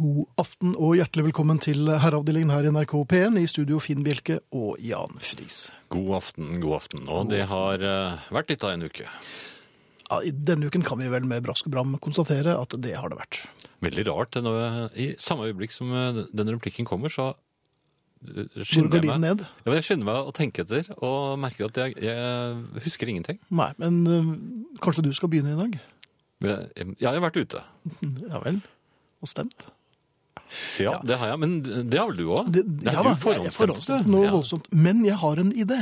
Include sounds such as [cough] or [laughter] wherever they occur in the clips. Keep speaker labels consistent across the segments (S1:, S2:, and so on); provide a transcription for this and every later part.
S1: God aften og hjertelig velkommen til herreavdelingen her i NRK P1, i studio Finn Bjelke og Jan Friis.
S2: God aften, god aften. Og det har eh, vært litt av en uke.
S1: Ja, i denne uken kan vi vel med brask og bram konstatere at det har det vært.
S2: Veldig rart. det Når, I samme øyeblikk som eh, den replikken kommer, så eh,
S1: Hvor
S2: skynder
S1: går
S2: jeg
S1: din
S2: meg.
S1: ned?
S2: Ja, men jeg skynder meg å tenke etter, og merker at jeg, jeg husker ingenting.
S1: Nei, men øh, kanskje du skal begynne i dag?
S2: Men Jeg, jeg har jo vært ute.
S1: Ja vel. Og stemt.
S2: Ja, det har jeg. Men det har vel du òg?
S1: Det,
S2: er
S1: ja
S2: jo
S1: da, jeg er
S2: forhåndsstemt,
S1: forhåndsstemt
S2: du.
S1: noe
S2: Ja.
S1: voldsomt. Men jeg har en idé.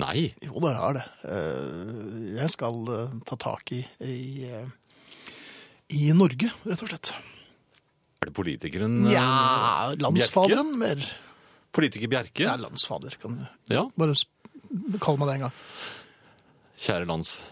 S2: Nei.
S1: Jo da, jeg har det. Eh, Jeg skal eh, ta tak i, i eh, i Norge, rett og slett.
S2: Er det politikeren eh,
S1: Ja, landsfaderen mer.
S2: Politiker Bjerke?
S1: Ja,
S2: Ja.
S1: landsfader kan du Bare sp- kall meg det en gang.
S2: Kjære landsfader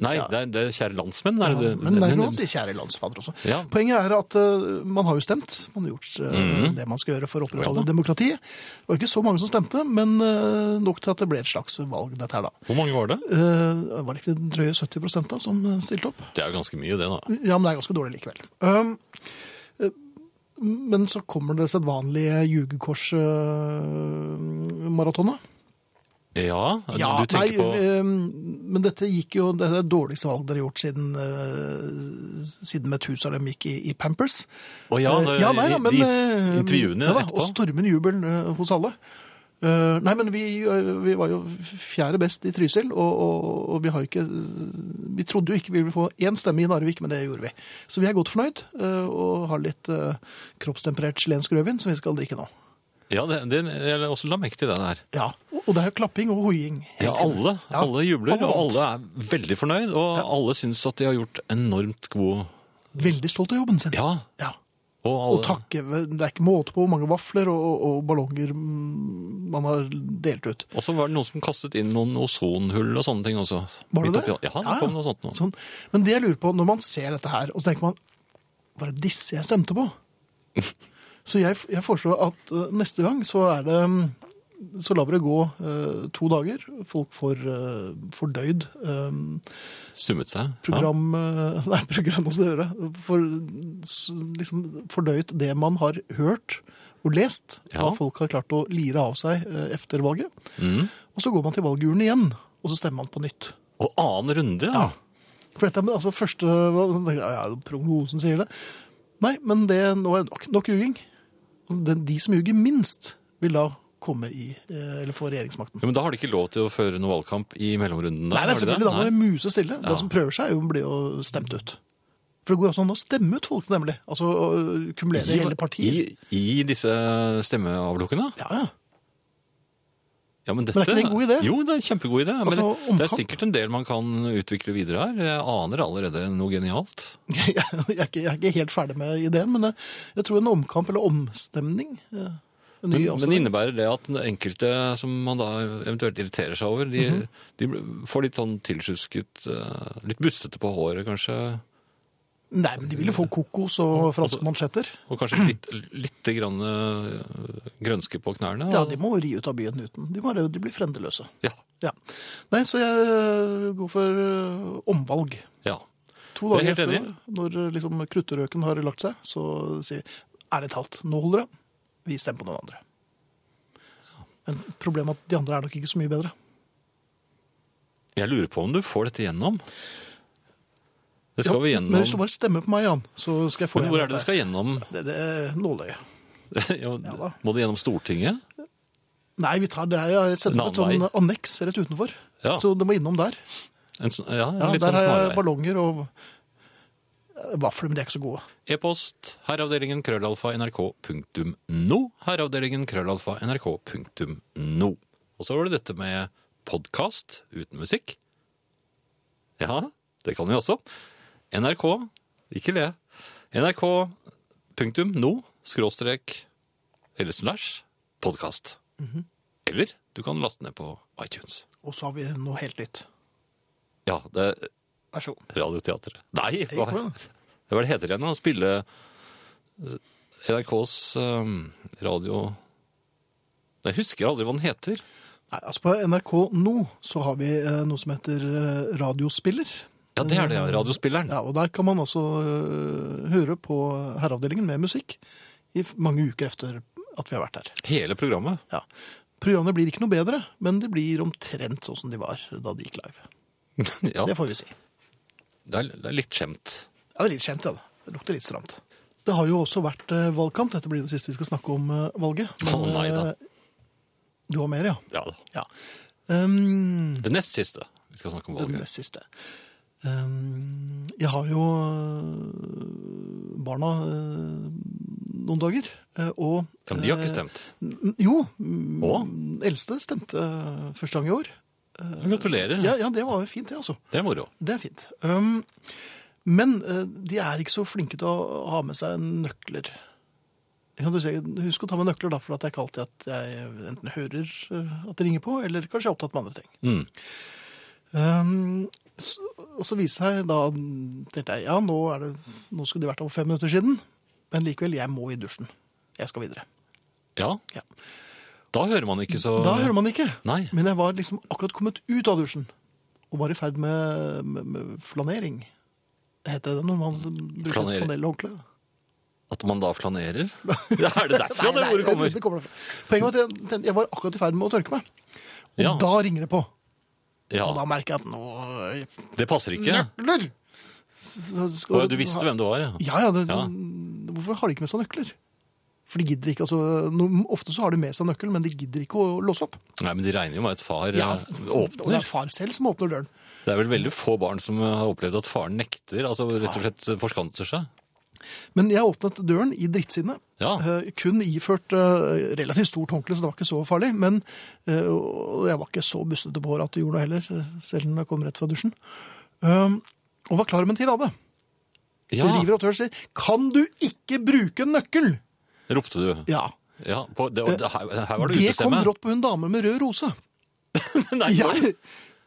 S2: Nei, det, er, det er kjære landsmenn. Er det,
S1: Men det er lov å si kjære landsfader også.
S2: Ja.
S1: Poenget er at eh, man har jo stemt. Man har gjort eh,
S2: Mhm.
S1: det man skal gjøre for å
S2: Vel
S1: opprettholde
S2: da.
S1: demokratiet. Det var ikke så mange som stemte, men eh, nok til at det ble et slags valg, dette her, da.
S2: Hvor mange var det?
S1: Eh, var det ikke drøye 70 da som eh, stilte opp?
S2: Det er jo ganske mye, det, da.
S1: Ja, men det er ganske dårlig likevel. Um, eh, men så kommer det sedvanlige eh, jugekorsmaratonet.
S2: Ja, du tenker på
S1: eh, men dette gikk jo Det er det dårligste valget dere har gjort siden, eh, siden Methusalem gikk i, i Pampers.
S2: Å ja,
S1: Eh,
S2: det,
S1: ja, nei,
S2: i-
S1: ja, men,
S2: de
S1: eh,
S2: intervjuene
S1: ja, da,
S2: etterpå.
S1: Og stormende jubel eh, hos alle. Eh, nei, men vi, eh, vi var jo fjerde best i Trysil, og, og, og vi har jo ikke Vi trodde jo ikke vi ville få én stemme i Narvik, men det gjorde vi. Så vi er godt fornøyd, eh, og har litt eh, kroppstemperert chilensk rødvin som vi skal drikke nå.
S2: Ja, det, det, jeg la også la merke til det der.
S1: Ja, Og og det er jo klapping og hoiing. hele
S2: Ja,
S1: tiden.
S2: alle,
S1: Ja,
S2: alle jubler,
S1: alle
S2: og
S1: vant.
S2: alle er veldig fornøyd, og alle syns at de har gjort enormt god
S1: Veldig stolt av jobben sin.
S2: Ja,
S1: ja.
S2: og alle
S1: Og takke, det er ikke måte på hvor mange vafler og, og, og ballonger mm, man har delt ut.
S2: Og så var det noen som kastet inn noen ozonhull og sånne ting også.
S1: Var det
S2: Midt oppi-
S1: det?
S2: Ja,
S1: Ja,
S2: det kom noe sånt nå.
S1: Sånn. Men det jeg lurer på, når man ser dette her, og så tenker man, var det disse jeg stemte
S2: [laughs]
S1: på? Så jeg, jeg foreslår at eh, neste gang så er det, mm, så lar vi det gå eh, to dager. Folk får eh, fordøyd eh,
S2: Summet seg.
S1: program, eh, [laughs] nei, program også gjøre, for s- liksom fordøyt det man har hørt og lest,
S2: Ja.
S1: hva folk har klart å lire av seg eh, efter valget.
S2: Ja. Mm.
S1: Og så går man til valgurnen igjen, og så stemmer man på nytt.
S2: Og annen runde, ja.
S1: For dette er altså første, hva- ja, ja, prognosen sier det. Nei, men det, nå er det nok, nok juging. De, de som juger minst vil da komme i, eh, eller få regjeringsmakten.
S2: ja. Men da har de ikke lov til å føre noen valgkamp i mellomrunden?
S1: Nei, det er selvfølgelig, da må det muse stille.
S2: Ja.
S1: Det som prøver seg, er jo blir jo stemt ut. For det går altså an å stemme ut folk, nemlig. Altså å kumulere hele partier.
S2: I, I disse stemmeavlukkene?
S1: Ja, ja. [laughs]
S2: Ja, men, dette,
S1: Men er ikke det en god idé?
S2: Jo, det er en kjempegod idé. Men
S1: Altså,
S2: det- det er
S1: omkamp-
S2: sikkert en del man kan utvikle videre her. Jeg aner allerede noe genialt.
S1: Jeg, er ikke, jeg er ikke helt ferdig med ideen, men jeg, jeg tror en omkamp eller omstemning eh, en ny
S2: Men, men
S1: avstemning.
S2: innebærer det at enkelte som man da eventuelt irriterer seg over, de,
S1: Mhm.
S2: de får litt sånn tilsjusket, eh, litt bustete på håret kanskje,
S1: Nei, men de ville få kokos og franske mansjetter. [clears throat]
S2: og kanskje litt, litt grann, eh, grønske på knærne?
S1: Ja,
S2: og-
S1: de må ri ut av byen uten. De, bare, de blir frendeløse.
S2: Ja,
S1: Ja. Nei, så jeg eh, går for eh, omvalg.
S2: ja.
S1: To
S2: Jeg er
S1: dager
S2: helt
S1: etter,
S2: enig.
S1: når eh, liksom, krutterøken har lagt seg, så sier vi ærlig talt, nå holder det. Vi stemmer på noen andre. Men problemet er at de andre er nok ikke så mye bedre.
S2: Jeg lurer på om du får dette gjennom. Det skal
S1: Ja,
S2: vi gjennom.
S1: Men hvis du bare stemmer på meg, Jan, så skal jeg få
S2: Men hvor er det
S1: det
S2: det skal gjennom?
S1: Det, det er nåløyet.
S2: [laughs] Ja,
S1: da.
S2: Må det gjennom Stortinget?
S1: Nei, vi tar det. Jeg setter opp et
S2: En
S1: sånn
S2: annen
S1: anneks rett utenfor.
S2: Ja.
S1: Så det må innom der.
S2: En, sn- ja, en
S1: Ja,
S2: litt
S1: der
S2: sånn
S1: har
S2: snarvei.
S1: jeg ballonger og eh, vafler, men de er ikke så gode.
S2: E-post herreavdelingen krøllalfa nrk.no. Herreavdelingen krøllalfa nrk.no. Og så var det dette med podkast uten musikk. Ja, det kan vi også. NRK Ikke le. nrk.no skråstrek eller slash podkast.
S1: Mhm.
S2: Eller du kan laste ned på iTunes.
S1: Og så har vi noe helt nytt.
S2: Ja, det er
S1: Vær så god.
S2: Radioteatret. Nei, hva,
S1: Ikke hva?
S2: hva er det heter det igjen? da? Spille eh, NRKs um, radio Jeg husker aldri hva den heter.
S1: Nei, altså På NRK nå så har vi eh, noe som heter eh, radiospiller.
S2: Ja, det er det, ja. Radiospilleren.
S1: Ja, og der kan man også øh, høre på herreavdelingen med musikk i f- mange uker etter at vi har vært her.
S2: Hele programmet. [laughs]
S1: Ja. Programmene blir ikke noe bedre, men de blir omtrent sånn som de var da de gikk live.
S2: ja,
S1: Det får vi si.
S2: det er, det er litt skjemt.
S1: Ja, det er litt kjent, ja. da. Det lukter litt stramt. Det har jo også vært eh, valgkamp. Dette blir det siste vi skal snakke om eh, valget.
S2: Å, nei da.
S1: eh, Du har mer, ja?
S2: Ja da.
S1: Ja. Um,
S2: Det nest siste vi skal snakke om
S1: den
S2: valget.
S1: nest siste. Um, jeg har jo øh, barna øh, noen dager, øh, og
S2: Ja, men de har ikke
S1: øh,
S2: stemt.
S1: n- Jo. mm,
S2: Å?
S1: Eldste stemte øh, første gang i år.
S2: Gratulerer.
S1: Ja, ja, det var jo fint, det, altså.
S2: Det er moro.
S1: Det er fint. Um, men eh, de er ikke så flinke til å ha med seg nøkler. Kan du si, husk å ta med nøkler, da, for at det er ikke alltid at jeg enten hører eh, at det ringer på, eller kanskje er opptatt med andre ting.
S2: Mm.
S1: Um, så, og så viser det seg da tenkte jeg, ja, nå, er det, nå skulle det vært over fem minutter siden, men likevel, jeg må i dusjen. Jeg skal videre.
S2: Ja.
S1: Ja.
S2: Da hører man ikke så
S1: Da hører man det ikke.
S2: Nei.
S1: Men jeg var liksom akkurat kommet ut av dusjen, og var i ferd med, med, med flanering. Heter det det når man bruker
S2: Flanere.
S1: flanell og håndkle?
S2: At man da
S1: [laughs]
S2: flanerer. [laughs] er det derfra det ordet kommer?
S1: Det kommer derfra. Poenget var at jeg, tenkte- jeg var akkurat i ferd med å tørke meg. Og
S2: Ja.
S1: da ringer det på.
S2: Ja,
S1: Og da merker jeg at nå
S2: Det passer ikke.
S1: Nøkler! Så- så skal
S2: Og Du visste hvem det var, ja.
S1: Ja, ja, det,
S2: Ja.
S1: Hvorfor har de ikke med seg nøkler? For de gidder ikke, altså, no, Ofte så har de med seg nøkkelen, men de gidder ikke å låse opp.
S2: Nei, men De regner jo med at far
S1: Ja,
S2: eh,
S1: Og det
S2: åpner.
S1: er far selv som åpner døren.
S2: Det er vel veldig få barn som har opplevd at faren nekter. altså Rett og slett forskanser seg.
S1: Men jeg åpnet døren i drittsinne.
S2: Ja.
S1: eh, kun iført eh, relativt stort håndkle, så det var ikke så farlig. Men eh, og jeg var ikke så bustete på håret at det gjorde noe heller, eh, selv om jeg kom rett fra dusjen. Um, og var klar med en tirade.
S2: ja,
S1: River og tør sier 'Kan du ikke bruke nøkkel?'
S2: ropte du.
S1: Ja.
S2: Ja, på, det, og det, her, her var det
S1: Eh, Det kom
S2: utestemme.
S1: brått på hun dame med rød rose.
S2: [laughs] Nei, var,
S1: Jeg,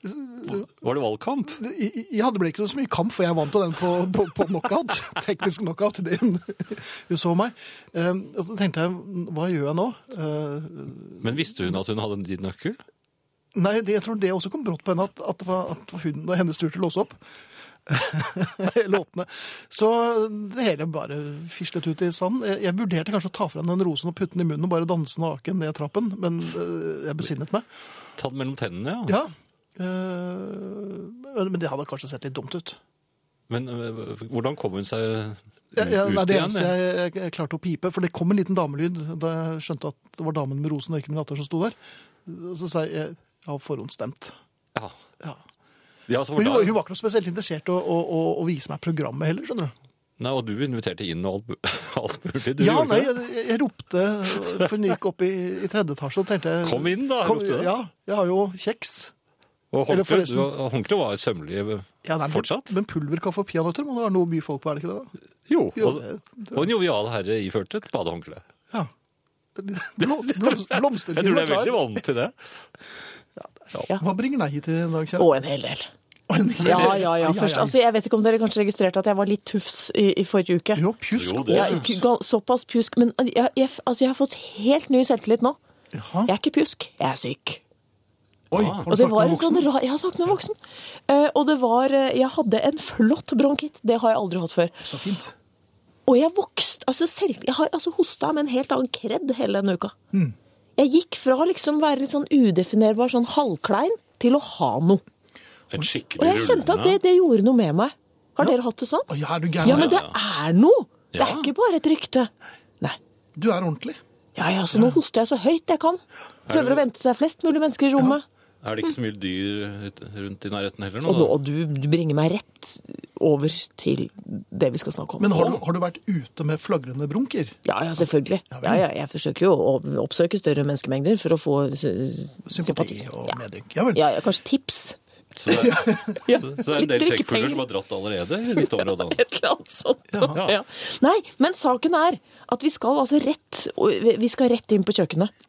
S2: det- var det valgkamp?
S1: ja, det ble ikke så mye kamp, for jeg vant jo den på, på, på knockout. [laughs] Teknisk knockout. Det hun, [laughs] hun så meg. Eh, og så tenkte jeg, hva gjør jeg nå? Eh,
S2: Men visste hun at hun hadde en din nøkkel?
S1: nei, det, jeg tror det også kom brått på henne, at, at, det var- at det var hun og hennes tur til å låse opp. [laughs] Eller åpne. Så det hele bare fislet ut i sanden. Jeg, jeg vurderte kanskje å ta fra henne den rosen og putte den i munnen og bare danse naken ned trappen, men eh, jeg besinnet meg.
S2: Ta den mellom tennene, ja.
S1: Ja, eh, men men det hadde kanskje sett litt dumt ut.
S2: Men øh, hvordan kom hun seg ut
S1: Ja, ja, nei, det
S2: igjen?
S1: eneste jeg, jeg, jeg klarte å pipe, for det kom en liten damelyd da jeg skjønte at det var damen med rosen og ikke min datter som sto der. Så sa jeg jeg har forhåndsstemt.
S2: Ja.
S1: Ja.
S2: Ja, altså,
S1: For hun,
S2: så hvordan-
S1: var- hun var ikke noe spesielt interessert i å, å, å, å vise meg programmet heller, skjønner du.
S2: Nei, og du inviterte inn og alt, mu- [laughs] alt mulig. Du
S1: ja,
S2: gjorde
S1: nei,
S2: det.
S1: jeg, jeg ropte, for hun gikk opp i, i tredje etasje og tenkte jeg-
S2: Kom inn da,
S1: kom-
S2: ropte du.
S1: Ja, jeg har jo kjeks.
S2: Og
S1: eller
S2: håndkle,
S1: forresten-
S2: du- og håndkle var sømmelig
S1: Ja, nei, men-
S2: fortsatt.
S1: Men pulverkaffe og peanøtter må det være noe å by folk på, er det ikke det? da?
S2: Jo,
S1: Jo,
S2: og,
S1: det-
S2: og en jovial herre iført et badehåndkle.
S1: Ja. Blom, blom,
S2: [laughs] Jeg tror
S1: Blomsterfilm
S2: du
S1: er
S2: er veldig
S1: klar.
S2: vant til det.
S1: Hva bringer deg hit i dag, kjære?
S3: Og en hel del. Ja, ja, ja. Først, altså, jeg vet ikke om dere kanskje registrerte at jeg var litt tufs i, i forrige uke.
S1: Jo, pjusk.
S2: Jo,
S1: og
S2: det-
S3: Ja,
S1: pjusk.
S3: ikke gal- såpass pjusk. Men jeg, jeg, altså, jeg har fått helt ny selvtillit nå.
S1: Jaha.
S3: Jeg er ikke pjusk, jeg er syk.
S1: Oi, har du
S3: Og det
S1: snakket
S3: var
S1: med
S3: en
S1: voksen?
S3: sånn rar Jeg har snakket med en voksen. Eh, og det var eh, Jeg hadde en flott bronkitt. Det har jeg aldri hatt før.
S1: Så fint.
S3: Og jeg vokste altså selv, Jeg har altså hosta med en helt annen kred hele denne uka.
S1: Hmm.
S3: Jeg gikk fra liksom være litt sånn udefinerbar, sånn halvklein, til å ha noe.
S2: En skikkelig
S3: Og jeg kjente at det, det gjorde noe med meg. Har dere hatt det sånn?
S1: Å, ja, er du gæren?
S3: Ja, men det
S2: ja.
S3: er noe! Det er
S2: Ja.
S3: ikke bare et rykte. Nei.
S1: Du er ordentlig.
S3: Ja, ja, så nå hoster jeg så høyt jeg kan. Prøver å vente seg flest mulig mennesker i rommet.
S2: Er det ikke så mye dyr ut- rundt i nærheten heller nå?
S3: Og, nå,
S2: da?
S3: og du, du bringer meg rett over til det vi skal snakke om.
S1: Men har du, har du vært ute med flagrende brunker?
S3: Ja, ja, selvfølgelig.
S1: Ja, vel.
S3: Ja, ja, jeg forsøker jo å oppsøke større menneskemengder for å få sy-
S1: Sympati
S3: sympati.
S1: og
S3: Ja.
S1: medynk. Ja vel.
S3: Ja, ja, kanskje tips.
S2: Så det er,
S3: [laughs] Ja,
S2: så det er en
S3: litt
S2: del trekkfugler
S3: drikkepenger.
S2: som har dratt allerede i ditt område. Anne.
S3: Et eller annet sånt.
S1: Ja.
S3: Ja. Nei, men saken er at vi skal altså rett, vi skal rett inn på kjøkkenet.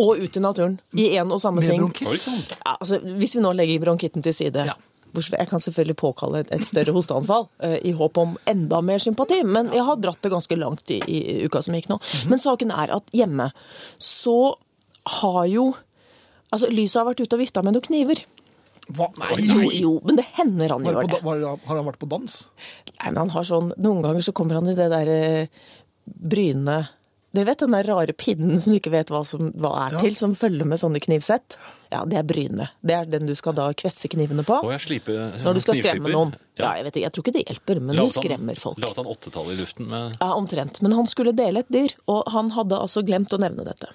S3: Og ut i naturen. I én og samme
S1: Med
S3: seng.
S1: bronkitt.
S2: Oi sånn. sann!
S3: Ja, altså, hvis vi nå legger bronkitten til side
S1: Ja.
S3: hvor- Jeg kan selvfølgelig påkalle et, et større hosteanfall [laughs] eh, i håp om enda mer sympati, men jeg har dratt det ganske langt i, i uka som gikk nå.
S1: Mhm.
S3: Men saken er at hjemme så har jo Altså, lyset har vært ute og vifta med noen kniver.
S1: Hva? Nei,
S3: Jo, men det hender han
S1: Var
S3: gjør
S1: det på,
S3: det.
S1: da- var, det- har han vært på dans?
S3: Nei, men han har sånn, Noen ganger så kommer han i det der eh, bryne Dere vet den der rare pinnen som du ikke vet hva, som, hva er
S1: Ja.
S3: til, som følger med sånne knivsett? Ja, det er bryne. Det er den du skal da kvesse knivene på.
S2: Og jeg sliper
S3: Når du skal skremme noen. Ja,
S2: Ja.
S3: jeg, vet, ikke, jeg tror ikke det hjelper, men
S2: La
S3: du
S2: oss han-
S3: skremmer folk.
S2: La oss han åttetallet i luften med
S3: Ja, omtrent. Men han skulle dele et dyr, og han hadde altså glemt å nevne dette.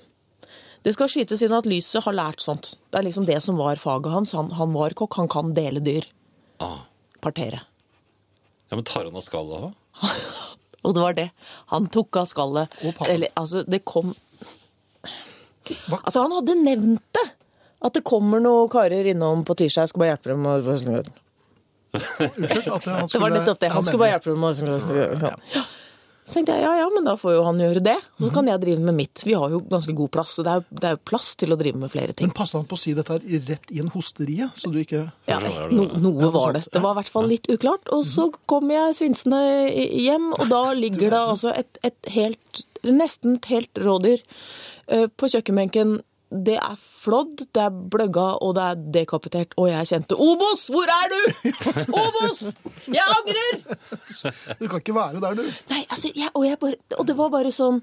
S3: Det skal skytes inn at lyset har lært sånt. Det er liksom det som var faget hans. Han, han var kokk, han kan dele dyr.
S2: ah.
S3: Partere.
S2: Ja, men tar han av skallet av?
S3: Og det var det. Han tok av skallet.
S1: Og pannen.
S3: Eller, altså, det kom
S1: Hva?
S3: Altså, han hadde nevnt det! At det kommer noen karer innom på tirsdag, jeg skal bare hjelpe dem å
S1: Unnskyld? At han
S3: [laughs] Det
S1: skulle,
S3: var nettopp det. Han skulle bare hjelpe meg. med å snu- snu- snu- snu- Ja. Mhm. Så tenkte jeg ja ja, men da får jo han gjøre det. Så kan jeg drive med mitt. Vi har jo ganske god plass, så det er, det er jo plass til å drive med flere ting.
S1: Men passet han på å si dette her i- rett inn hosteriet, så du ikke
S3: Ja,
S2: Kanskje var det- Mhm.
S3: no,
S1: Ja,
S3: noe var det.
S1: sant.
S3: Det var i hvert fall litt uklart. Og så kom jeg svinsende hjem,
S2: [laughs]
S3: og da ligger det altså et, et helt Nesten et helt rådyr eh, på kjøkkenbenken. Det er flådd, det er bløgga, og det er dekapitert. Og jeg kjente Obos, hvor er du?!
S2: [laughs]
S3: [laughs] Obos! Jeg angrer!
S1: Du kan ikke være der, du.
S3: Nei, altså, jeg, og, jeg bare, og det var bare sånn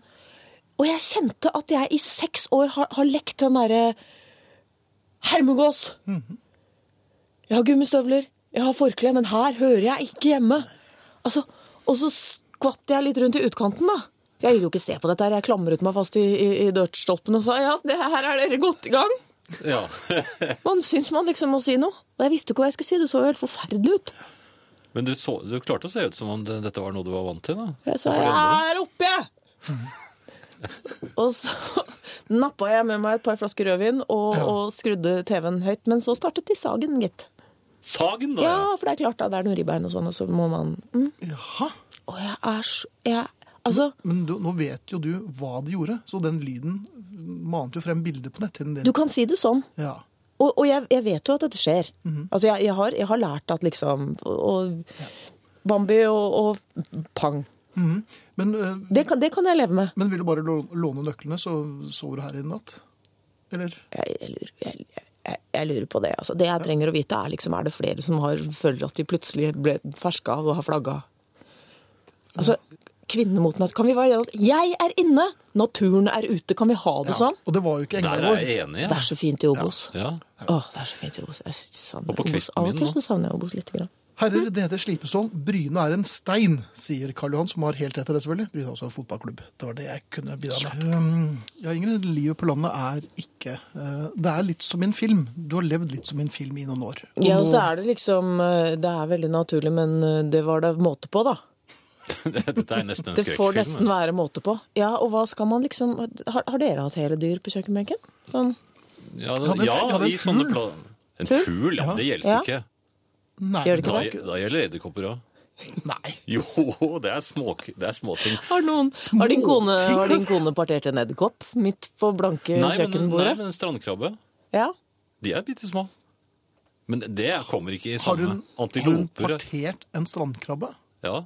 S3: Og jeg kjente at jeg i seks år har, har lekt den derre Hermegås! Jeg har gummistøvler, jeg har forkle, men her hører jeg ikke hjemme. Altså, og så skvatt jeg litt rundt i utkanten, da. Jeg ville jo ikke se på dette, her, jeg klamret meg fast i, i, i dørstolpen og sa ja, det her er dere godt i gang.
S2: Ja.
S3: Man syns man liksom må si noe. Og jeg visste ikke hva jeg skulle si, det så jo helt forferdelig ut.
S2: [laughs] Men du, så, du klarte å se ut som om det, dette var noe du var vant til, da?
S3: Jeg sa
S2: For det
S3: 'jeg
S2: andre.
S3: er oppe', jeg! [laughs] og så nappa jeg med meg et par flasker rødvin og, og skrudde TV-en høyt. Men så startet de sagen, gitt.
S2: Sagen, da! ja.
S3: Ja, for det er klart, da. Det er noen ribbein og sånn, og så må man mm.
S1: Jaha.
S3: Og jeg er så jeg, Altså,
S1: Men du, nå vet jo du hva de gjorde, så den lyden mante jo frem bilder på netthinnen din.
S3: du kan si det sånn.
S1: Ja.
S3: Og, og jeg, jeg vet jo at dette skjer. Altså, jeg, jeg, har, jeg har lært at liksom og, og Bambi og, og pang.
S1: Men, eh,
S3: Det kan, det kan jeg leve med.
S1: men vil du bare lå- låne nøklene, så sover du her i natt? Eller?
S3: jeg, jeg, lurer, jeg, jeg, jeg lurer på det. Altså, det jeg trenger å vite, er liksom, er det flere som har, føler at de plutselig ble ferska og har flagga? Altså, kvinner mot natt. Kan vi være enige om at jeg er inne, naturen er ute? Kan vi ha det sånn?
S1: Og det var jo ikke
S2: Der
S1: engelen
S2: er
S1: vår.
S2: jeg enig,
S3: Det
S2: ja.
S3: er så fint i Obos.
S2: ja. [laughs]
S3: Åh, det er så fint i Obos. Jeg savner
S2: Og på
S3: Obos.
S2: kvisten
S3: Av og
S2: min
S3: til
S2: nå.
S3: så savner jeg Obos litt. Grann.
S1: Herrer, det heter Slipestål. Bryne er en stein, sier Karl Johan, som har helt rett i det, selvfølgelig. Bryne er også en fotballklubb. Det var det jeg kunne bidra med. Um, Ja, Ingrid, livet på landet er ikke eh, Det er litt som en film. Du har levd litt som en film i noen år. Og
S3: Ja, og
S1: nå-
S3: så er det liksom eh, Det er veldig naturlig, men eh, det var det måte på, da.
S2: Dette er nesten en
S3: Det får nesten
S2: skrekkfilm.
S3: være måte på. Ja, og hva skal man liksom Har, har dere hatt hele dyr på kjøkkenbenken? Sånn
S2: Ja,
S1: Hadde en-
S2: ja,
S1: hadde en
S2: i sånne
S1: fugl.
S2: plan... En fugl? Ja, det gjelder
S3: Ja.
S2: ikke.
S1: Nei,
S3: Gjør det
S2: Da,
S3: ikke
S2: da gjelder edderkopper òg.
S1: Nei.
S2: Jo, det er, små, det er småting.
S3: Har, noen, har, din kone, har din kone partert en edderkopp midt på blanke
S2: Nei, men, nei,
S3: kjøkkenbordet?
S2: men en strandkrabbe.
S3: Ja.
S2: De er bitte små. Men det kommer ikke i
S1: Har
S2: samme
S1: hun, har hun
S2: antiloper.
S1: partert en strandkrabbe?
S2: Ja.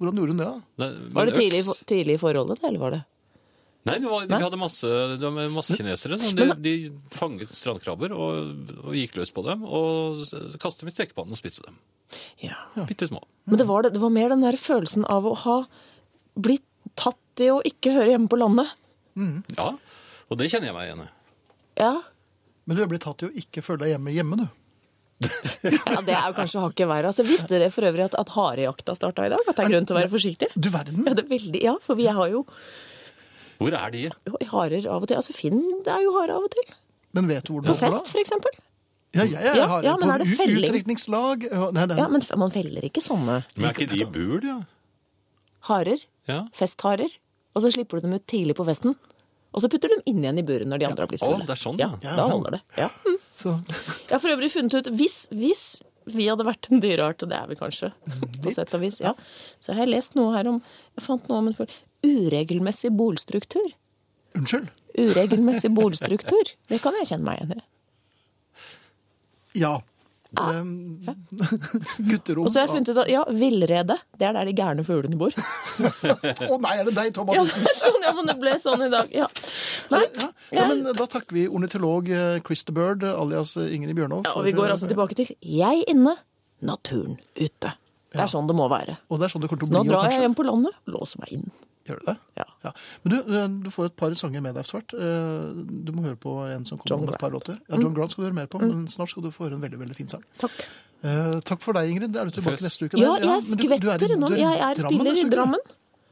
S1: Hvordan gjorde hun det? da?
S2: Nei, men
S3: Var det
S2: øks-
S3: tidlig, i for- tidlig i forholdet, eller var det?
S2: Nei, det var,
S3: Nei?
S2: vi hadde masse, det var masse kinesere. Så de, de fanget strandkrabber og, og gikk løs på dem. Og s- kastet dem i stekepannen og spiste dem.
S3: Ja.
S2: Bitte små.
S3: Men det var, det, det var mer den der følelsen av å ha blitt tatt i å ikke høre hjemme på landet.
S2: Ja, og det kjenner jeg meg igjen i.
S3: Ja.
S1: Men du ble tatt i å ikke føle deg hjemme hjemme, du.
S3: ja, Det er jo kanskje hakket verre. Altså, visste dere for øvrig at, at harejakta starta i dag? At det er grunn til å være forsiktig?
S1: Du verden.
S3: Ja, det er veldig, ja, for vi har jo
S2: Hvor er de?
S3: harer av og til. Altså Finn det er jo hare av og til.
S1: Men vet du hvor du
S3: På
S1: bor,
S3: fest,
S1: da?
S3: for eksempel.
S1: Ja, jeg, jeg,
S3: Ja,
S1: har
S3: ja, men
S1: på
S3: er det
S1: u-
S3: felling?
S1: Utdrikningslag Ja, Nei, nei,
S3: Ja, Men f- man feller ikke sånne
S2: Men er ikke de i bur, de? da?
S3: harer.
S2: Ja.
S3: festharer, og så slipper du dem ut tidlig på festen. Og så putter du dem inn igjen i buret når de andre har blitt
S2: Å,
S3: fulle.
S2: det er sånn,
S3: ja.
S2: ja.
S3: Da holder det. Ja. Mm.
S1: Så,
S3: Jeg har for øvrig funnet ut hvis, hvis vi hadde vært en dyreart, og det er vi kanskje, på sett og vis, ja. så har jeg lest noe her om Jeg fant noe om en for uregelmessig bolstruktur.
S1: unnskyld.
S3: Uregelmessig bolstruktur. Det kan jeg kjenne meg igjen i.
S1: Ja. Um, [laughs] Gutterom.
S3: Og så har jeg funnet ut at ja, villrede, det er der de gærne fuglene bor.
S1: Å nei, er det deg, Tom
S3: Ja,
S1: Mathisen?
S3: det er sånn, ja, men det ble sånn i dag. Ja. Nei.
S1: Ja. Ja, men da takker vi ornitolog eh, Chris the Bird, alias eh, Ingrid Bjørnov.
S3: Ja,
S1: for-
S3: og vi går altså tilbake til jeg inne, naturen ute. Det er sånn det må være.
S1: Og det er sånn det kommer til
S3: Nå
S1: å bli nå,
S3: drar jeg
S1: kanskje.
S3: hjem på landet, låser meg inn.
S1: Gjør du det?
S3: Ja.
S1: Ja. Men du, eh, du- du får et par sanger med deg etter hvert. Eh, Du må høre på en som
S3: John Mm.
S1: kommer med et par låter. Ja, John Grant skal du høre mer på, men snart skal du få høre en veldig veldig fin sang.
S3: Takk.
S1: Eh, Takk for deg, Ingrid. Er du tilbake
S2: Føs.
S1: neste uke?
S3: Ja,
S1: der? men du-
S3: jeg
S1: du er i-
S3: skvetter
S1: du
S3: innom.
S1: er i
S3: Jeg er
S1: Drammen
S3: spiller
S1: neste
S3: i
S1: uke, du.
S3: Drammen,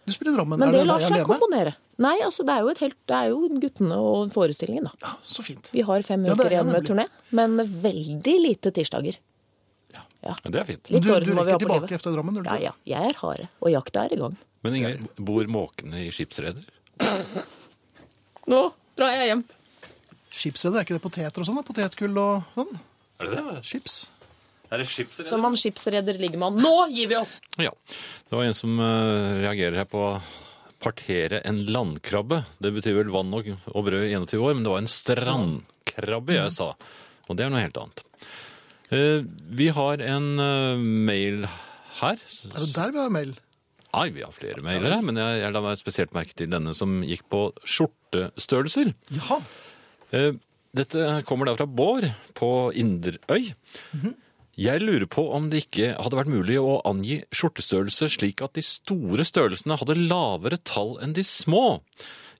S1: Du spiller i Drammen.
S3: men
S1: er
S3: det
S1: deg
S3: lar seg
S1: alene?
S3: komponere. Nei, altså det er jo et helt Det er jo guttene og forestillingen, da.
S1: Ja, så fint.
S3: Vi har fem
S1: Ja, det er
S3: uker igjen med
S1: nemlig.
S3: turné, men veldig lite tirsdager.
S2: Men det er fint.
S1: Men
S3: Litt
S1: Du, du
S3: orden må
S1: rekker
S3: vi ha på
S1: tilbake
S3: livet.
S1: etter Drammen? gjør du
S3: Ja
S1: ikke?
S3: ja, jeg er hare, og jakta er i gang.
S2: Men Ingrid, bor måkene i skipsreder?
S3: Nå drar jeg hjem.
S1: Skipsreder, er ikke det poteter og sånn? da? Potetgull og sånn?
S2: Er det det?
S1: Chips?
S2: Er det skipsreder?
S3: Som man skipsreder ligger man. Nå gir vi oss!
S2: Ja. Det var en som eh, reagerer her på å partere en landkrabbe. Det betyr vel vann og, og brød i 21 år, men det var en strandkrabbe jeg sa. Og det er noe helt annet. Eh, vi har en eh, mail her.
S1: Er det der vi har mail?
S2: Nei, vi har flere mailer her, men jeg, jeg la meg spesielt merke til denne som gikk på skjortestørrelser.
S1: Ja.
S2: Eh, Dette kommer da fra Bård på Inderøy. Jeg lurer på om det ikke hadde vært mulig å angi skjortestørrelse slik at de store størrelsene hadde lavere tall enn de små.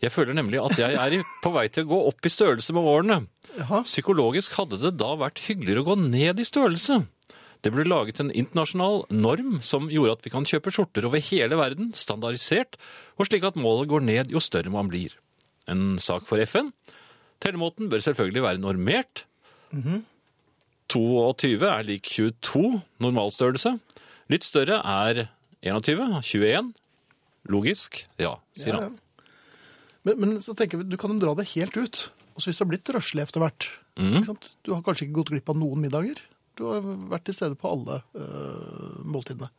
S2: Jeg føler nemlig at jeg er i- på vei til å gå opp i størrelse med årene.
S1: Jaha.
S2: Psykologisk hadde det da vært hyggeligere å gå ned i størrelse. Det ble laget en internasjonal norm som gjorde at vi kan kjøpe skjorter over hele verden, standardisert, og slik at målet går ned jo større man blir. En sak for FN, Tellemåten bør selvfølgelig være normert. Mhm. 22 er lik 22, normalstørrelse. Litt større er 21, 21. Logisk, ja, sier
S1: Ja,
S2: han.
S1: Men, men så tenker vi, du kan jo dra det helt ut. Og så hvis det har blitt røslig etter hvert
S2: Mhm.
S1: ikke sant? Du har kanskje ikke gått glipp av noen middager. Du har vært til stede på alle øh, måltidene.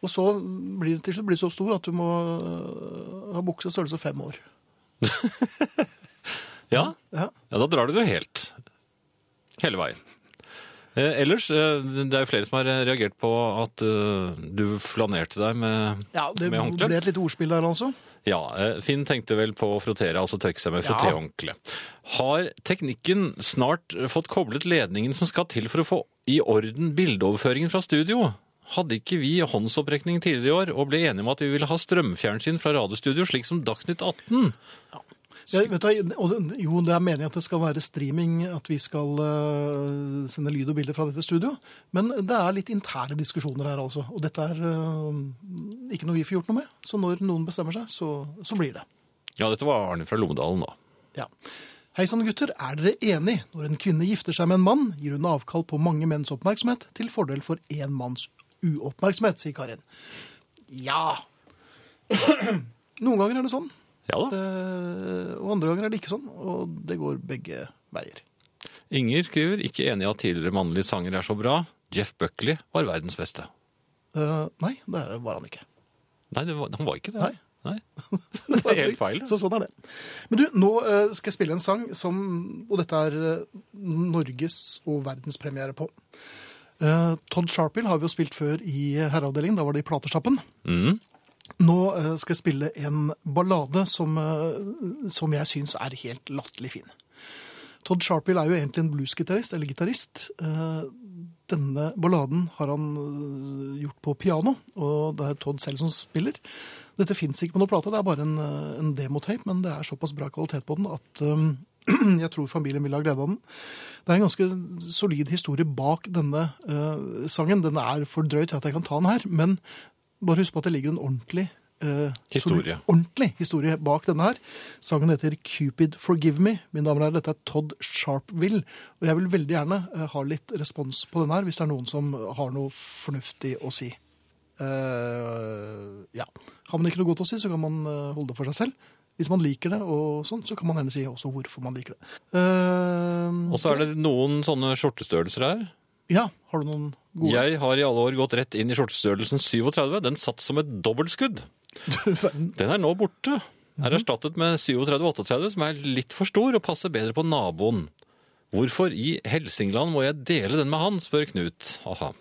S1: Og så blir det til slutt blir det så stor at du må øh, ha bukse størrelse fem år.
S2: Ja,
S1: Ja.
S2: ja da drar du det helt. Hele veien. Eh, ellers, eh, det er jo flere som har reagert på at eh, du flanerte deg med,
S1: Ja, Det
S2: med håndkle.
S1: ble et lite ordspill der, altså.
S2: Ja, eh, Finn tenkte vel på å frottere, altså tørke seg med
S1: Ja.
S2: frottéhåndkle. Har teknikken snart fått koblet ledningen som skal til for å få i orden bildeoverføringen fra studio? Hadde ikke vi håndsopprekning tidligere i år og ble enige om at vi ville ha strømfjernsyn fra radiostudio, slik som Dagsnytt 18?
S1: Ja, vet du, hva, og det- jo, det er meningen at det skal være streaming, at vi skal øh, sende lyd og bilder fra dette studio. Men det er litt interne diskusjoner her, altså. Og dette er øh, ikke noe vi får gjort noe med. Så når noen bestemmer seg, så, så blir det.
S2: Ja, dette var Arne fra Lommedalen, da.
S1: Ja. Hei sann, gutter. Er dere enig? Når en kvinne gifter seg med en mann, gir hun avkall på mange menns oppmerksomhet til fordel for én manns uoppmerksomhet, sier Karin. Ja. [clears throat] Noen ganger er det sånn,
S2: Ja da.
S1: eh, og andre ganger er det ikke sånn. Og det går begge veier.
S2: Inger skriver ikke enig i at tidligere mannlige sanger er så bra. Jeff Buckley var verdens beste.
S1: Eh, nei, det er- var han ikke. [laughs]
S2: Nei, det var, han var ikke det.
S1: Nei.
S2: Nei. [laughs] Det er helt feil.
S1: Så sånn er det. Men du, nå eh, skal jeg spille en sang som Og dette er eh, Norges- og verdenspremiere på. Eh, Todd Sharpill har vi jo spilt før i Herreavdelingen. Da var det i platesjappen.
S2: Mm.
S1: Nå eh, skal jeg spille en ballade som, eh, som jeg syns er helt latterlig fin. Todd Sharpill er jo egentlig en bluesgitarist, eller gitarist. Eh, Denne balladen har han eh, gjort på piano, og det er Todd selv som spiller. Dette fins ikke på noen plate, det er bare en, eh, en demotape, men det er såpass bra kvalitet på den at eh, [clears throat] jeg tror familien vil ha glede av den. Det er en ganske solid historie bak denne eh, sangen. Den er for drøy til at jeg kan ta den her, men bare husk på at det ligger en ordentlig eh,
S2: Historie.
S1: solid- ordentlig historie bak denne her. Sangen heter Cupid Forgive Me. Mine damer og herrer, dette er Todd Sharpville. Og jeg vil veldig gjerne eh, ha litt respons på denne her, hvis det er noen som har noe fornuftig å si. Eh, ja. Har man ikke noe godt å si, så kan man eh, holde det for seg selv. Hvis man liker det, og sånn, så kan man gjerne si også hvorfor man liker det. Eh,
S2: Og så er det noen sånne skjortestørrelser her.
S1: Ja, har du noen gode
S2: Jeg har i alle år gått rett inn i skjortestørrelsen 37. Den satt som et
S1: [laughs]
S2: dobbeltskudd.
S1: Du verden.
S2: Den er nå borte. Er erstattet med 37-38, som er litt for stor og passer bedre på naboen. Hvorfor i Helsingland må jeg dele den med han, spør Knut. Aha.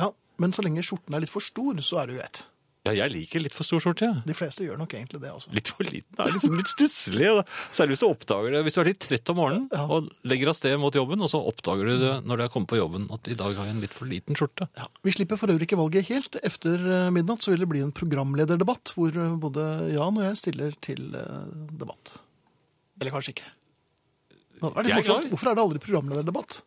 S1: Ja, men så lenge skjorten er litt for stor, så er det jo greit.
S2: Ja, jeg liker litt for stor skjorte, jeg.
S1: De fleste gjør nok egentlig det, altså.
S2: Litt for liten er liksom litt stusslig. og da- Særlig hvis du oppdager det. Hvis du er litt trett om morgenen
S1: Ja.
S2: og legger av sted mot jobben, og så oppdager du det når du er kommet på jobben at i dag har jeg en litt for liten skjorte.
S1: Ja. Vi slipper for øvrig ikke valget helt. Etter eh, midnatt så vil det bli en programlederdebatt hvor eh, både Jan og jeg stiller til eh, debatt. Eller kanskje ikke. Det hadde vært litt
S2: Jeg er klar.
S1: morsomt. Hvorfor er det aldri programlederdebatt?